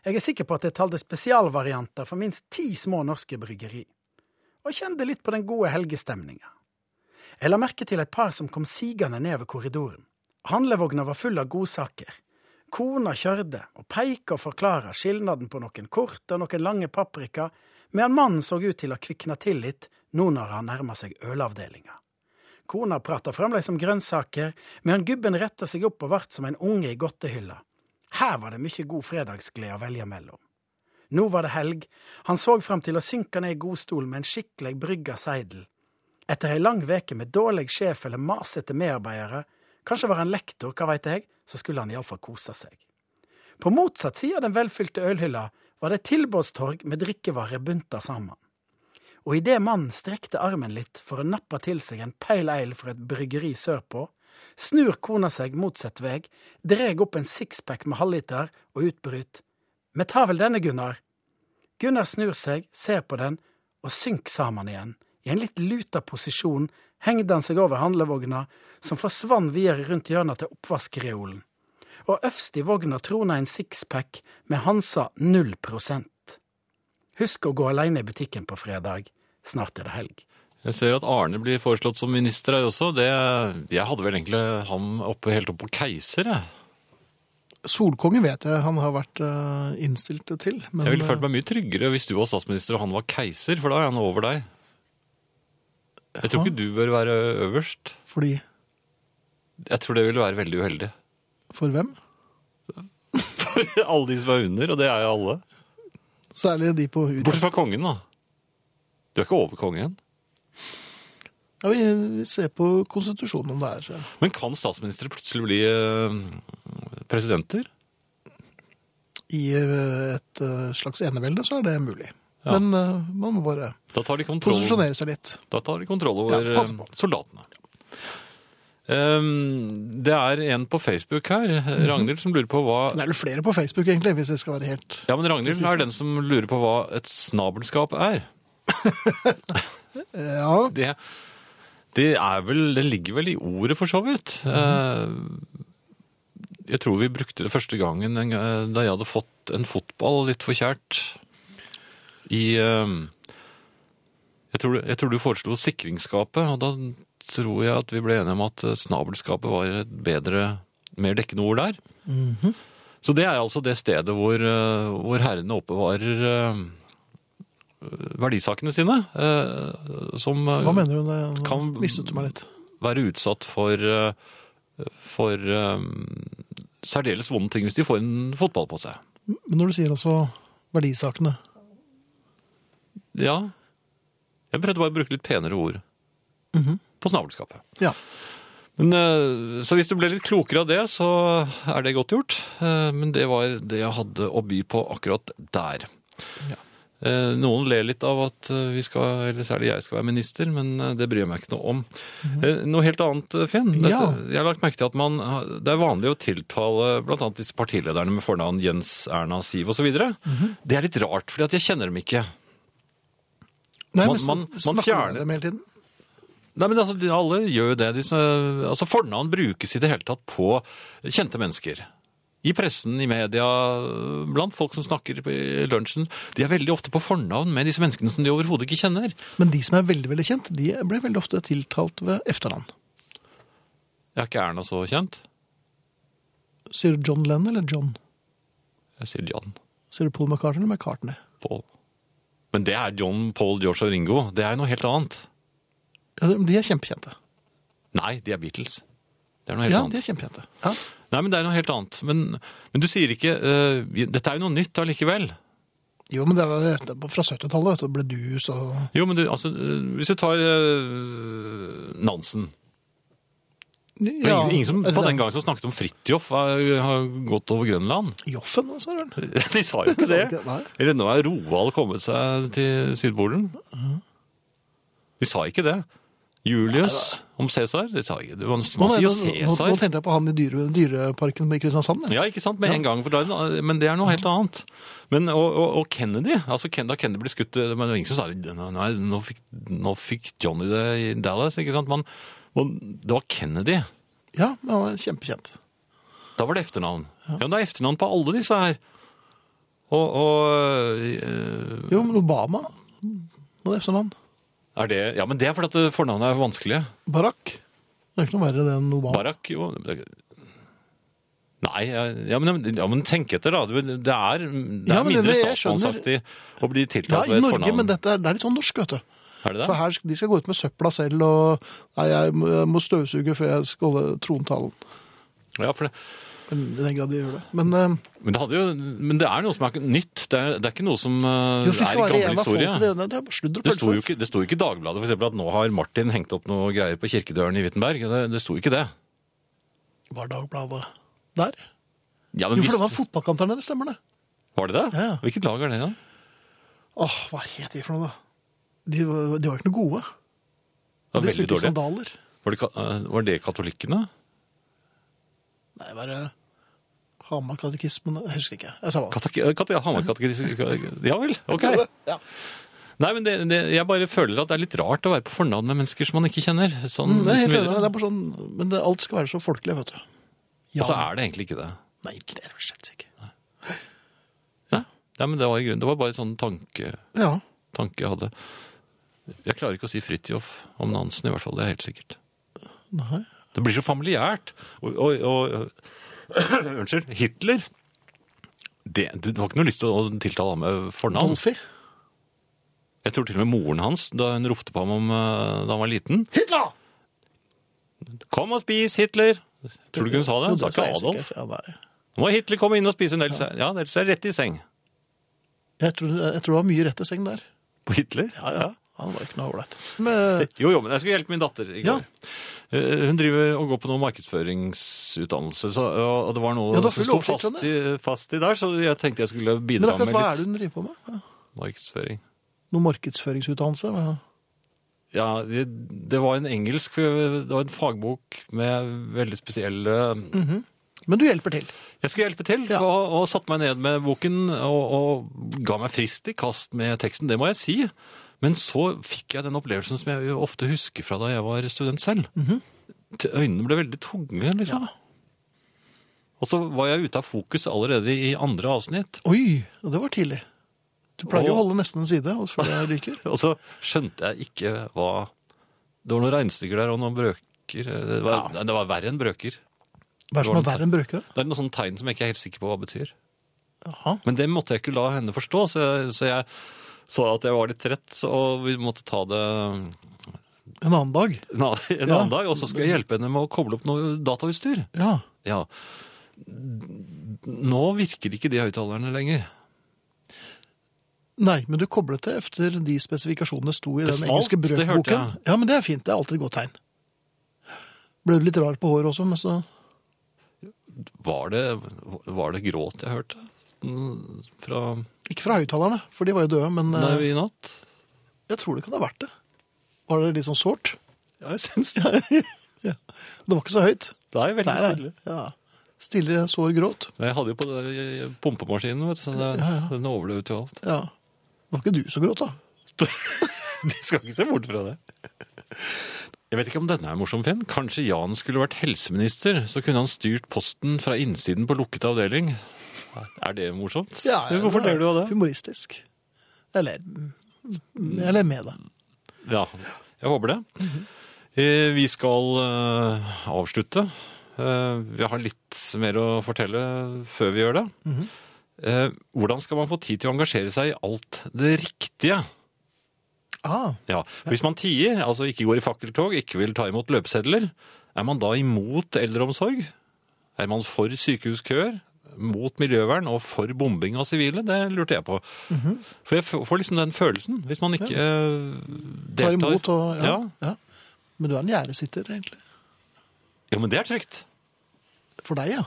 S4: Jeg er sikker på at jeg talte spesialvarianter for minst ti små norske bryggeri, og kjente litt på den gode helgestemninga. Jeg la merke til et par som kom sigende nedover korridoren. Handlevogna var full av godsaker. Kona kjørte og peika og forklara skilnaden på noen kort og noen lange paprika, medan mannen så ut til å kvikne til litt nå når han nærma seg ølavdelinga. Kona prata fremdeles om grønnsaker, medan gubben retta seg opp og vart som en unge i godtehylla. Her var det mye god fredagsglede å velge mellom. Nå var det helg. Han så frem til å synke ned i godstolen med en skikkelig brygga seidel. Etter ei lang veke med dårlig sjef eller masete medarbeidere, kanskje var han lektor, hva veit jeg, så skulle han iallfall kose seg. På motsatt side av den velfylte ølhylla var det et tilbudstorg med drikkevarer bunta sammen. Og idet mannen strekte armen litt for å nappe til seg en pale ale fra et bryggeri sørpå, snur kona seg motsatt veg, dreg opp en sixpack med halvliter og utbryt. Me tar vel denne, Gunnar. Gunnar snur seg, ser på den, og synker sammen igjen. I en litt luta posisjon hengde han seg over handlevogna, som forsvann videre rundt hjørnet til oppvaskreolen. Og øverst i vogna trona en sixpack med Hansa 0 Husk å gå aleine i butikken på fredag. Snart er det helg.
S2: Jeg ser at Arne blir foreslått som minister her også. Det, jeg hadde vel egentlig ham oppe, helt opp på keiser, jeg.
S1: Solkonge vet jeg han har vært eh, innstilt til. Men,
S2: Jeg ville følt meg mye tryggere hvis du var statsminister og han var keiser, for da er han over deg. Jeg tror ikke du bør være øverst.
S1: eh, Fordi
S2: Jeg tror det ville være veldig uheldig.
S1: For hvem?
S2: [laughs] alle de som er under, og det er jo alle.
S1: Særlig de på UD.
S2: Bortsett fra kongen, da. Du er ikke over kongen.
S1: Ja, vi, vi ser på konstitusjonen om det er eh,
S2: Men kan statsministre plutselig bli eh, presidenter?
S1: I eh, et eh, slags enevelde, så er det mulig.
S2: Ja.
S1: Men eh, man må bare
S2: Da tar de kontroll,
S1: posisjonere seg litt.
S2: da tar de kontroll over
S1: Ja, pass på.
S2: eh, soldatene. Ehm, det er en på Facebook her, Ragnhild, som lurer på hva
S1: Det er vel flere på Facebook, egentlig, hvis jeg skal være helt
S2: Ja, men Ragnhild er den som lurer på hva et snabelskap er.
S1: eh, Ja.
S2: Det, det er vel Det ligger vel i ordet, for så vidt. Eh, Jeg tror vi brukte det første gangen en gang- da jeg hadde fått en fotball litt for kjært i eh, Jeg tror, jeg tror du foreslo sikringsskapet, og da tror jeg at vi ble enige om at eh, snabelskapet var et bedre, mer dekkende ord der. Så det er altså det stedet hvor, eh, hvor herrene oppbevarer eh, verdisakene sine, eh, som eh,
S1: Hva mener du? Det
S2: Kan-
S1: mistet du meg litt.
S2: være utsatt for, eh, for eh, særdeles vonde ting hvis de får en fotball på seg.
S1: Men når du sier altså verdisakene
S2: Ja. Jeg prøvde bare å bruke litt penere ord på snabelskapet.
S1: Ja.
S2: Men, eh, så hvis du ble litt klokere av det, så er det godt gjort. Eh, Men det var det jeg hadde å by på akkurat der. Eh, Noen ler litt av at eh, vi skal, eller særlig jeg skal være minister, men eh, det bryr jeg meg ikke noe om. Eh, Noe helt annet, eh, Finn. Dette,
S1: Ja.
S2: Jeg har lagt merke til at man, har- det er vanlig å tiltale blant annet disse partilederne med fornavn Jens, Erna, Siv osv. videre. Det er litt rart, fordi at jeg kjenner dem ikke.
S1: Nei,
S2: Man-
S1: men
S2: man- man
S1: snakker du med
S2: fjerner-
S1: dem hele tiden?
S2: Nei, men altså, de- alle gjør jo det. Disse, altså, fornavn brukes i det hele tatt på kjente mennesker. I pressen, i media, blant folk som snakker på- i lunsjen. De er veldig ofte på fornavn med disse menneskene som de overhodet ikke kjenner.
S1: Men de som er veldig veldig kjent, de blir veldig ofte tiltalt ved efternavn.
S2: Jeg er ikke Erna så kjent.
S1: Sier du John Lennon eller John?
S2: Jeg sier John
S1: Sier du Paul McCartney eller McCartney?
S2: Paul. Men det er John, Paul, George og Ringo. Det er noe helt annet.
S1: Ja, de er kjempekjente.
S2: Nei, de er Beatles. Det er noe helt
S1: Ja,
S2: annet.
S1: de er kjempekjente. Ja.
S2: Nei, men det er noe helt annet. Men, men du sier ikke eh, Dette er jo noe nytt allikevel.
S1: Jo, men det var etterpå, fra 70-tallet, vet du, ble du så
S2: Jo, men du, altså, eh, hvis du tar eh, Nansen Det er
S1: ja,
S2: ingen, ingen som
S1: eller
S2: på
S1: det-
S2: den gangen som snakket om Fridtjof eh, har gått over Grønland.
S1: Joffen, hva sa du?
S2: [laughs] De sa jo ikke det.
S1: Nei.
S2: Eller nå er Roald kommet seg til Sydpolen. De sa ikke det. Julius om Cæsar? De sa ikke det. Man,
S1: Nå,
S2: man sier jo
S1: nå, nå, nå
S2: Cæsar.
S1: tenkte jeg på han i dyre, dyreparken i Kristiansand. jeg.
S2: Ja, ikke sant? Med en gang. For da, er det noe- men det er noe helt annet. Men, og, og, og Kennedy altså Ken- Da Kennedy ble skutt eh, men det var ingen som sa «Nå- Nei, nå fikk, nå fikk Johnny det i Dallas. ikke sant? Man, man, det var Kennedy.
S1: Ja, men han er kjempekjent.
S2: Da var det efternavn. Ja, men det er efternavn på alle disse her. Og, og eh,
S1: Jo, men Obama hadde efternavn.
S2: er det Ja, men det er fordi at eh, fornavnene er vanskelige.
S1: Barack. Det er ikke noe verre det enn Obama.
S2: Barack, jo det- Nei, eh, ja men, ja, men tenk etter, da. Det er, det er
S1: Ja, men det-
S2: mindre
S1: jeg
S2: statsmannsaktig å bli
S1: Ja,
S2: tiltalt
S1: i
S2: ved altså, et
S1: Norge,
S2: fornavn.
S1: men dette er, det er litt sånn norsk, vet du.
S2: Er det
S1: For
S2: det?
S1: her, de skal gå ut med søpla selv, og nei, jeg må- jeg må støvsuge før jeg skal holde trontalen.
S2: Ja, for det,
S1: I den grad de gjør det. Men eh,
S2: Men det, hadde jo, men det er noe som er nytt. Det er, det er ikke noe som eh,
S1: jo,
S2: er i
S1: fiskevare er
S2: gammel
S1: en av
S2: historie.
S1: folkene. Det, sånn. det er bare sludder og
S2: Det sto jo
S1: pølser.
S2: ikke, det sto jo ikke i Dagbladet for eksempel, at nå har Martin hengt opp noe greier på kirkedøren i Wittenberg. Det, det sto ikke det.
S1: Var Dagbladet der?
S2: Ja, men
S1: Jo, for
S2: hvis,
S1: det var fotballkamp der nede, stemmer det.
S2: var det det?
S1: Ja, ja.
S2: Hvilket lag er det, da?
S1: Åh, hva het de for noe, da? De var, de var ikke noe gode.
S2: Det var
S1: De
S2: veldig
S1: spilte i
S2: dårlig.
S1: sandaler.
S2: Var det, ka- eh, var det katolikkene?
S1: Nei, var det Hamar-katekismen? Jeg husker ikke. Jeg sa hva.
S2: Katak eh, kat Hamar-katekismen? [laughs] Ja vel, ok.
S1: Ja.
S2: Nei, men det, det, jeg bare føler at det er litt rart å være på fornavn med mennesker som man ikke kjenner. Sånn,
S1: Mm, det er helt
S2: liksom
S1: enig.
S2: videre.
S1: Det er bare sånn, men det, alt skal være så folkelig, vet du.
S2: Og så Altså, er det egentlig ikke det.
S1: Nei, ikke det. er det Slett ikke.
S2: Nei, men det var i grunnen. Det var bare en sånn tanke,
S1: Ja.
S2: tanke jeg hadde. Jeg klarer ikke å si Fridtjof om Nansen, i hvert fall. Det er helt sikkert.
S1: Nei.
S2: Det blir så familiært. Og, og, og [clears throat] Unnskyld. Hitler. Det, du har ikke noe lyst til å tiltale ham med fornavn.
S1: Dolphy.
S2: Jeg tror til og med moren hans, da hun ropte på ham om, eh, da han var liten
S1: Hitler!
S2: 'Kom og spis, Hitler!' Tror du ikke hun sa det? Hun sa ikke Adolf.
S1: Ja, nei.
S2: Nå må Hitler komme inn og spise en del. se- Ja, ellers er det rett i seng.
S1: Jeg tror, jeg tror det var mye rett i seng der.
S2: På Hitler?
S1: Ja, ja. Han var ikke noe ålreit. Men
S2: Jo, jo, men jeg skulle hjelpe min datter i
S1: Ja.
S2: går. Eh, Hun driver og går på noe markedsføringsutdannelse, så, og og det var noe
S1: Ja, du har
S2: som
S1: full
S2: sto
S1: oversikt,
S2: fast i, fast i der, så jeg tenkte jeg skulle
S1: men
S2: bidra med
S1: akkurat hva er
S2: litt
S1: det hun driver på med? Ja.
S2: markedsføring.
S1: Noe markedsføringsutdannelse? Ja.
S2: Ja, det, det var en engelsk Det var en fagbok med veldig spesielle
S1: Men du hjelper til.
S2: Jeg skulle hjelpe til,
S1: Ja.
S2: og, og satte meg ned med boken og, og ga meg frist i kast med teksten. Det må jeg si. Men så fikk jeg den opplevelsen som jeg jo ofte husker fra da jeg var student selv. T- Øynene ble veldig tunge, liksom. Og så var jeg ute av fokus allerede i andre avsnitt.
S1: Oi, det var tidlig. Du pleier jo å
S2: Og-
S1: holde nesten en side og før jeg ryker.
S2: Og så skjønte jeg ikke hva Det var noen regnestykker der og noen brøker. eh, Det var, det var verre enn brøker.
S1: Hva er det som er verre enn brøkere?
S2: Det er noen sånne tegn som jeg ikke er helt sikker på hva betyr.
S1: Jaha.
S2: Men det måtte jeg ikke la henne forstå, så jeg så, jeg så at jeg var litt trett, så- og vi måtte ta det
S1: En annen dag?
S2: en annen, en
S1: Ja.
S2: annen dag. Og så skulle jeg hjelpe henne med å koble opp noe datautstyr.
S1: Ja.
S2: Ja. Nå virker ikke de høyttalerne lenger.
S1: Nei, men du koblet det efter de spesifikasjonene sto i
S2: Det
S1: den
S2: smalt,
S1: engelske
S2: det hørte
S1: brøkboken.
S2: jeg.
S1: Ja, men det er fint. Det er alltid et godt tegn. Ble du litt rar på håret også, men så
S2: Var det, var det gråt jeg hørte? Mm, Fra
S1: Ikke fra høyttalerne, for de var jo døde, men eh,
S2: Nei, i natt?
S1: jeg tror det kan ha vært det. Var det litt sånn sårt?
S2: Ja, jeg syns det.
S1: Ja. Det var ikke så høyt.
S2: Det er veldig
S1: Nei, nei.
S2: stille.
S1: Ja. Stille, sår gråt.
S2: Jeg hadde jo på det der pumpemaskinen, vet du, så det, den overlevde jo alt.
S1: Ja. Det var ikke du som gråt, da.
S2: [laughs] De skal ikke se bort fra det. Jeg vet ikke om denne er morsom, Finn. Kanskje Jan skulle vært helseminister, så kunne han styrt posten fra innsiden på lukket avdeling. Er det morsomt? Hvorfor
S1: det
S2: ler
S1: er
S2: du av det?
S1: Humoristisk. Jeg ler. Jeg ler med deg.
S2: Ja, jeg håper det. Eh, Vi skal eh, avslutte. Eh, Vi har litt mer å fortelle før vi gjør det. Eh, Hvordan skal man få tid til å engasjere seg i alt det riktige?
S1: Ah,
S2: Ja, for Hvis man tier, altså ikke går i fakkeltog, ikke vil ta imot løpesedler, er man da imot eldreomsorg? Er man for sykehuskøer, mot miljøvern og for bombing av sivile? Det lurte jeg på.
S1: Mhm.
S2: For jeg f- får liksom den følelsen, hvis man ikke eh, deltar.
S1: tar imot og ja,
S2: ja.
S1: ja. Men du er en gjerdesitter, egentlig.
S2: Jo, men det er trygt.
S1: For deg, ja.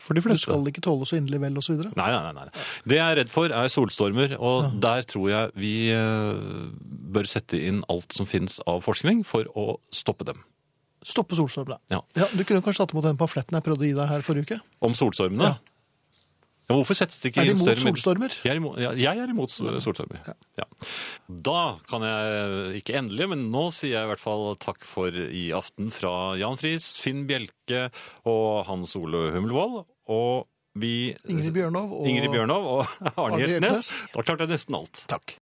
S2: For de
S1: Du
S2: fleste.
S1: skal ikke tåle så inderlig vel, og så videre.
S2: Nei, nei, nei, nei. Det jeg er redd for, er solstormer. Og der tror jeg vi eh, bør sette inn alt som fins av forskning for å stoppe dem.
S1: Stoppe solstormen. da.
S2: Ja.
S1: Ja, du kunne kanskje tatt imot den pamfletten jeg prøvde å gi deg her forrige uke.
S2: Om solstormene?
S1: Ja.
S2: Ja. hvorfor settes det ikke
S1: Er de
S2: inn
S1: imot
S2: større midler?
S1: solstormer?
S2: Jeg er imot, ja, jeg er imot sol- solstormer. Ja. Da kan jeg ikke endelig, men nå sier jeg i hvert fall takk for i aften fra Jan Friis, Finn Bjelke og Hans Ole Hummelvold. Og vi
S1: Ingrid Bjørnov og
S2: Ingrid Bjørnov og Arne
S1: Arne
S2: Hjeltnes.
S1: Hjeltnes.
S2: Da klarte jeg nesten alt.
S1: Takk.